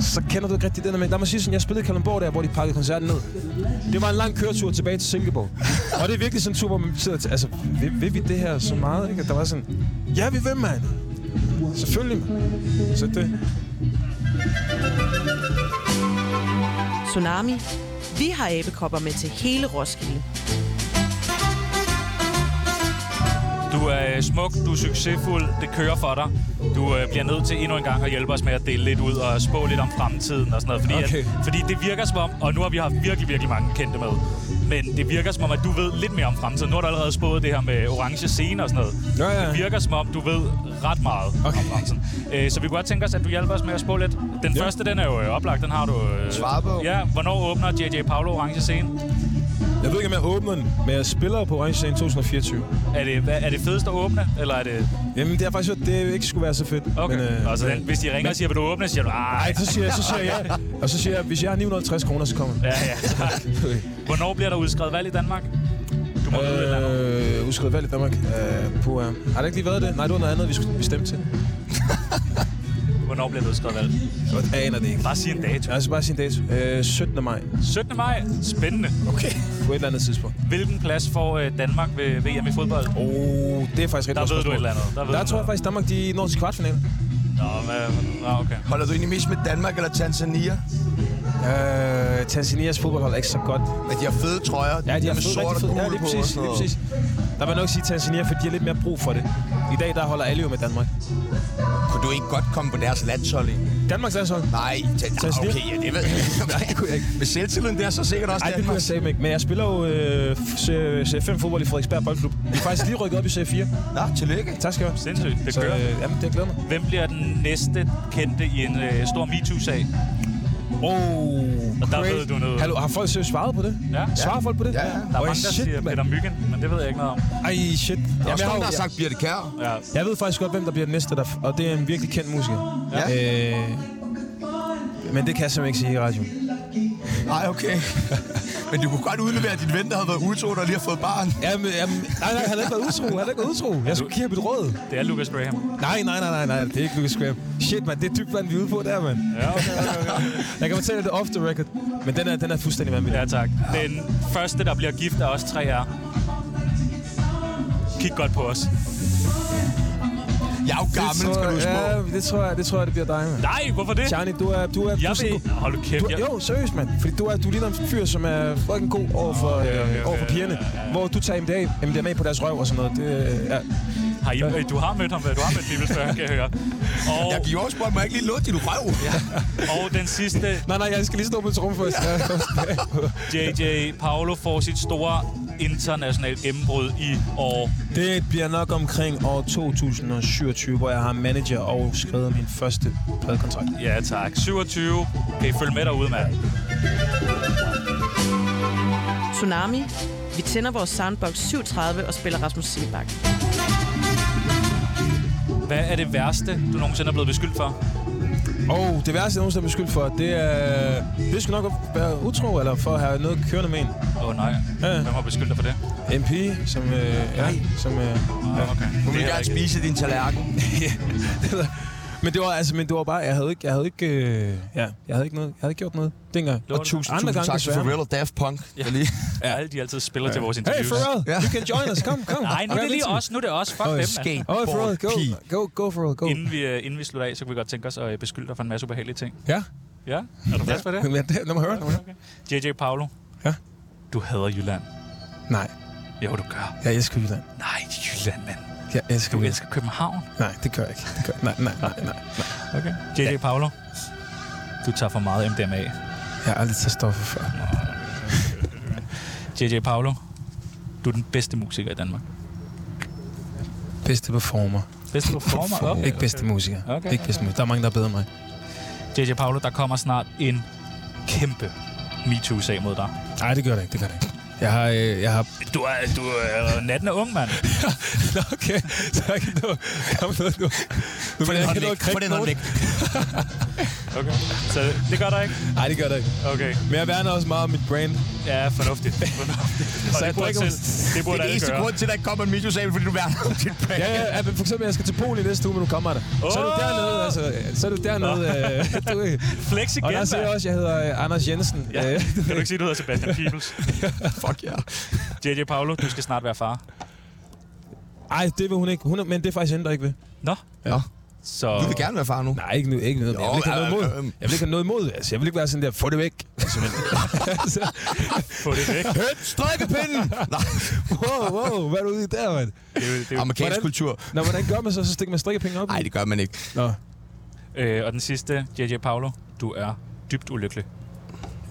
så kender du ikke rigtig den der, men lad mig sige sådan, jeg spillede i Kalundborg der, hvor de pakkede koncerten ned. Det var en lang køretur tilbage til Silkeborg. Og det er virkelig sådan en tur, hvor man sidder til, altså, vil, vil, vi det her så meget, ikke? Og der var sådan, ja, vi vil, mand. Selvfølgelig, mand. Så det. Tsunami. Vi har æbekopper med til hele Roskilde. Du er øh, smuk, du er succesfuld, det kører for dig. Du øh, bliver nødt til endnu en gang at hjælpe os med at dele lidt ud og spå lidt om fremtiden og sådan noget. Fordi, Okay. at, fordi det virker som om, og nu har vi haft virkelig, virkelig mange kendte med, men det virker som om, at du ved lidt mere om fremtiden. Nu har du allerede spået det her med orange scene og sådan noget. Nå, ja. Det virker som om, du ved ret meget okay. Okay. om fremtiden. Øh, så vi kunne godt tænke os, at du hjælper os med at spå lidt. Den Ja. første, den er jo øh, oplagt, den har du... Øh, Svar på. Ja, hvornår åbner J.J. Paolo orange scene? Jeg ved ikke, om jeg åbner den, men jeg spiller på Orange Scene 2024. Er det, hvad- er det fedest at åbne, eller er det... Jamen, det har faktisk hørt, det ikke skulle være så fedt. Okay, men, øh, altså, den, hvis de ringer og siger, vil du åbne, siger du, nej, Nej, så siger, jeg, så siger jeg ja. Og så siger jeg, hvis jeg har 950 kroner, så kommer jeg. Ja, ja. Hvornår bliver der udskrevet valg i Danmark? Du må vide et eller andet. Øh, udskrevet valg i Danmark. Øh, på, øh. Har det ikke lige været det? Nej, det var noget andet, vi, skulle, vi stemte til. Hvornår bliver der udskrevet valg? Jeg aner det ikke. Bare sig en dato. Jeg skal bare sige en dato. Øh, 17. maj. 17. maj. Spændende. Okay. På et eller andet tidspunkt. Hvilken plads får øh, Danmark ved VM i fodbold? Åh, oh, det er faktisk rigtig Der godt ved du spørgsmål. et eller andet. Der, ved Der du tror jeg noget. faktisk, Danmark de når til kvartfinalen. Nå, hvad, nå, okay. Holder du egentlig mest med Danmark eller Tanzania? Øh, Tanzanias fodboldhold er ikke så godt. Men de har fede trøjer. Ja, de har med fået sort rigtig og fedt. gul Ja, lige på og præcis, sådan lige noget. præcis. Der vil jeg nok sige Tanzania, for de har lidt mere brug for det. I dag, der holder alle jo med Danmark. Kunne du ikke godt komme på deres landshold i? Danmarks landshold? Nej, Tanzania. Tanzania? Okay, ja, det ved jeg. Nej, det kunne jeg ikke. Med selvtilliden der, så sikkert også Nej, det kunne jeg Danmark. sige ikke. Men jeg spiller jo øh, C5 fodbold i Frederiksberg Boldklub. Vi er faktisk lige rykket op i C4. Nå, tillykke. Tak skal du have. Sindssygt. Det kører. øh, jamen, det glæder mig. Hvem bliver den næste kendte i en øh, stor MeToo-sag? Oh, Og der ved du noget. Hallo, har folk seriøst svaret på det? Ja. Svarer folk på det? Ja, ja. Der er Oj, mange, der shit, siger mand. Peter Myggen, men det ved jeg ikke noget om. Ej, shit. Der er Jamen, også jeg, har, nogen, der har jeg, sagt Birte Kær. Ja. jeg ved faktisk godt, hvem der bliver den næste, der, f- og det er en virkelig kendt musiker. Ja. Øh, men det kan jeg simpelthen ikke sige i radioen. Nej, okay. Men du kunne godt udlevere at din ven, der havde været utro, der lige har fået barn. Jamen, jamen, nej, nej, han har ikke været utro. Han har ikke været utro. Jeg skulle give ham et råd. Det er Lucas Graham. Nej, nej, nej, nej, nej. Det er ikke Lucas Graham. Shit, mand. Det er dybt, hvad vi er ude på der, mand. Ja, okay, okay, okay. Jeg kan fortælle, at det er off the record. Men den er, den er fuldstændig vanvittig. Ja, tak. Den første, der bliver gift af os tre er... Kig godt på os. Jeg er jo gammel, tror, skal du huske på. ja, det tror jeg, det tror jeg, det bliver dig, mand. Nej, hvorfor det? Charlie, du er, du er, du Jeg er sådan vil... god- Hold nu kæft. Du, Jeg... jo, seriøst, mand. Fordi du er, du ligner en fyr, som er fucking god over for, øh, over for pigerne. Hvor du tager MDMA, MDMA på deres røv og sådan noget. Det, øh, ja. Har I... øh, Du har mødt ham, du har mødt Bibels før, kan jeg høre. Og, Jeg gik over og spurgte, må jeg ikke lige lukke din røv? Ja. og den sidste, Nej, nej, jeg skal lige stå på et rum først. Ja. JJ Paolo får sit store internationale gennembrud i år. Det bliver nok omkring år 2027, hvor jeg har manager og skrevet min første pladekontrakt. Ja tak. 27. Kan I følge med derude, mand? Tsunami. Vi tænder vores soundbox 37 og spiller Rasmus Sebak. Hvad er det værste, du nogensinde er blevet beskyldt for? Og det værste, jeg nogensinde er beskyldt for, det er... Det skulle nok være utro, eller for at have noget kørende med en. Åh oh, nej. Ja. Hvem har beskyldt dig for det? En pige, som... Øh, ja, som øh, Ah, okay. Hun vil Det er gerne ikke- spise din tallerken. men det var altså, men det var bare, jeg havde ikke, jeg havde ikke, øh, ja, jeg havde ikke noget, jeg havde ikke gjort noget dengang. Lån. Og tusind, Tusind andre gange tak til desværre. Pharrell og Daft Punk. Ja. Lige. Ja, alle de altid spiller til vores Hey interviews. Pharrell, Ja. you can join us, kom, kom. Nej, nu er det lige Reality. os. Nu er det os. Fuck Åh, dem, skæg. mand. Åh, oh, Pharrell, go, Pige. go, go, Pharrell, go. Inden vi, øh, inden vi slutter af, så kunne vi godt tænke os at øh, beskylde dig for en masse ubehagelige ting. Ja, Ja? Er du frisk på det? men det, lad mig høre, lad mig høre. Okay. JJ Paolo. Ja. Du hader Jylland. Nej, Jo, du gør. jeg elsker Jylland. Nej, Jylland, mand. Jeg elsker Du Jylland. elsker København. Nej, det gør jeg ikke. Det gør, nej, nej, nej, nej. Okay. JJ ja. Paolo. Du tager for meget MDMA. Jeg har aldrig taget stoffer før. JJ Paolo. Du er den bedste musiker i Danmark. Bedste performer. Bedste performer. Okay, Okay. ikke bedste musiker. Okay, ikke bedste musiker. Der er mange, der er bedre end mig. JJ Paolo, der kommer snart en kæmpe MeToo-sag mod dig. Nej, det gør det ikke, det gør det ikke. Jeg har, øh, jeg har... Du er, du er øh, natten er ung, mand. Nå, okay, så jeg kan nå... Kom nu, nu. Nu vil jeg ikke nå at Få krikke den hånd nogen. væk. Okay. Så det gør der ikke? Nej, det gør det ikke. Okay. Men jeg værner også meget om mit brand. Ja, fornuftigt. fornuftigt. Så Og jeg det burde, drikker- selv, det Det burde er den alle eneste gøre. grund til, at der ikke kommer en mikrosabel, fordi du værner om dit band. Ja, ja, ja, men for eksempel, jeg skal til Polen i næste uge, men nu kommer der. Så er du Åh! dernede, altså. Så er du dernede. Øh, du, Flex igen, og der siger jeg mand. også, jeg hedder øh, Anders Jensen. Ja. Øh, Kan du ikke sige, du hedder Sebastian Peebles? Fuck ja. JJ Paolo, du skal snart være far. Ej, det vil hun ikke. Hun, er- men det er faktisk hende, der ikke vil. Nå? Ja. Så... Du vil gerne være far nu. Nej, ikke, nu, ikke noget. Jo, jeg vil ikke have øh, noget imod. øh, øh. Jeg vil ikke have noget imod. Altså, jeg vil ikke være sådan der, få det væk. Altså, men, altså, Få det væk. Høt, strikkepinden! Nej, wow, wow, hvad er du ude i der, mand? Det er, jo- det er, jo- amerikansk Hvordan? kultur. Nå, hvordan gør man så? Så stikker man strikkepenge op? i? Nej, det gør man ikke. Nå, øh, og den sidste, JJ Paolo, du er dybt ulykkelig.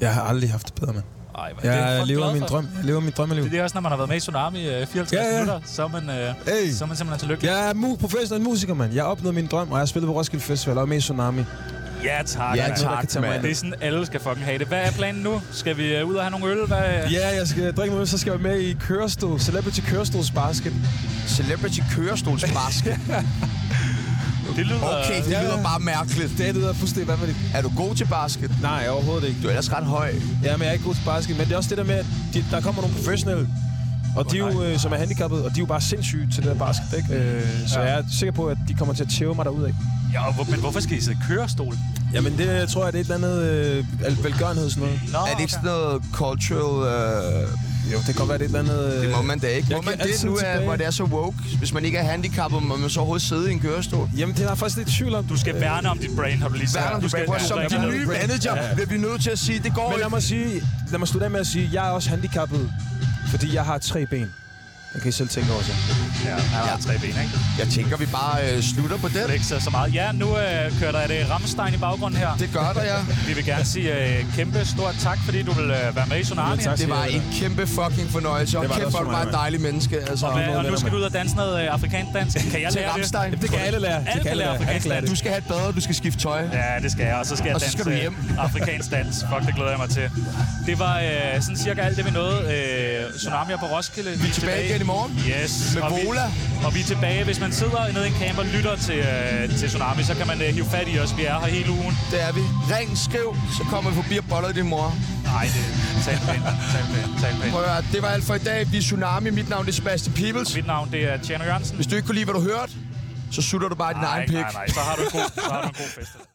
jeg har aldrig haft det bedre, mand. Ej, hvor er det Jeg fucking lever glad min for. drøm. Jeg lever min drømmeliv. Det er også, når man har været med i Tsunami i øh, 54 Ja, ja. minutter, så er man, øh, Hey. så er man simpelthen så lykkelig. Jeg er mu- professionel musiker, mand. Jeg opnåede min drøm, og jeg har spillet på Roskilde Festival og med i Tsunami. Ja, tak. Ja, mand. Noget, der kan tak, tage mig mand. Det er sådan, alle skal fucking have det. Hvad er planen nu? Skal vi øh, ud og have nogle øl? Hvad, Ja, jeg skal drikke med, så skal jeg med i kørestol, Celebrity Kørestolsbasket. Celebrity kørestolsmaske. Det lyder... Okay, det Ja. lyder bare mærkeligt. Det lyder fuldstændig vanvittigt. Er du god til basket? Nej, overhovedet ikke. Du er ellers ret høj. Ja, men jeg er ikke god til basket, men det er også det der med, at de, der kommer nogle professionelle, og de er jo, øh, som er handicappede, og de er jo bare sindssyge til det der basket, ikke? Øh, så Ja. ja. jeg er sikker på, at de kommer til at tæve mig derud, ikke? Ja, hvor, men hvorfor skal I sidde i kørestol? Jamen, det tror jeg, det er et eller andet øh, al- velgørenhed, sådan noget. Nå, Er det ikke sådan noget cultural... Øh, Jo, det kan godt være, det er et eller andet... Øh, det må man da ikke. jeg Må kan man det altid nu, er, tilbage. hvor det er så woke? Hvis man ikke er handicappet, må man så overhovedet sidde i en kørestol? Jamen, det er jeg faktisk lidt i tvivl om. Du skal værne om dit brain, har du lige sagt. Værner, du skal prøve, som ja, din ja. nye manager bliver vi nødt til at sige, det går Men lad ikke. mig, sige, lad mig slutte af med at sige, at jeg er også handicappet, fordi jeg har tre ben. Det kan I selv tænke over så. Ja, han har tre ben, ikke? Jeg tænker, vi bare øh, slutter på den. Det er ikke så, så meget. Ja, nu øh, kører der et øh, Rammstein i baggrunden her. Det gør der, ja. Vi vil gerne sige øh, kæmpe stort tak, fordi du vil øh, være med i Tsunami. Ja, tak. Det var en kæmpe fucking fornøjelse. Og Det var det kæft, også hvor er du for mig, bare et mand. dejligt menneske. Altså. Og, hvad- og nu venner, skal vi ud og danse noget øh, afrikansk dans. Kan jeg Til lære det? Rammstein. Det kan alle lære. Det Alle kan kan lære afrikansk alle dans. Du skal have et bad, og du skal skifte tøj. Ja, det skal jeg, og så skal jeg Og så danse skal du hjem. øh, afrikansk dans. Fuck, det glæder jeg mig til. Det var øh, sådan cirka alt det, vi nåede. Øh, tsunamier på Roskilde. Vi er tilbage igen i morgen. Yes. Med og Vola. Vi, og vi er tilbage. Hvis man sidder nede i en camp og lytter til, øh, til Tsunami, så kan man øh, hive fat i os. Vi er her hele ugen. Det er vi. Ring, skriv, så kommer vi forbi og boller din mor. Nej, det tal pænt. Tal pænt. Tal pænt. Prøv at høre, det var alt for i dag. Vi er Tsunami. Mit navn er Sebastian Peebles. Mit navn, det er Tjerno Jørgensen. Hvis du ikke kunne lide, hvad du hørte, så sutter du bare din nej, egen pik. nej, nej. Så har du en god, så har du en god fest.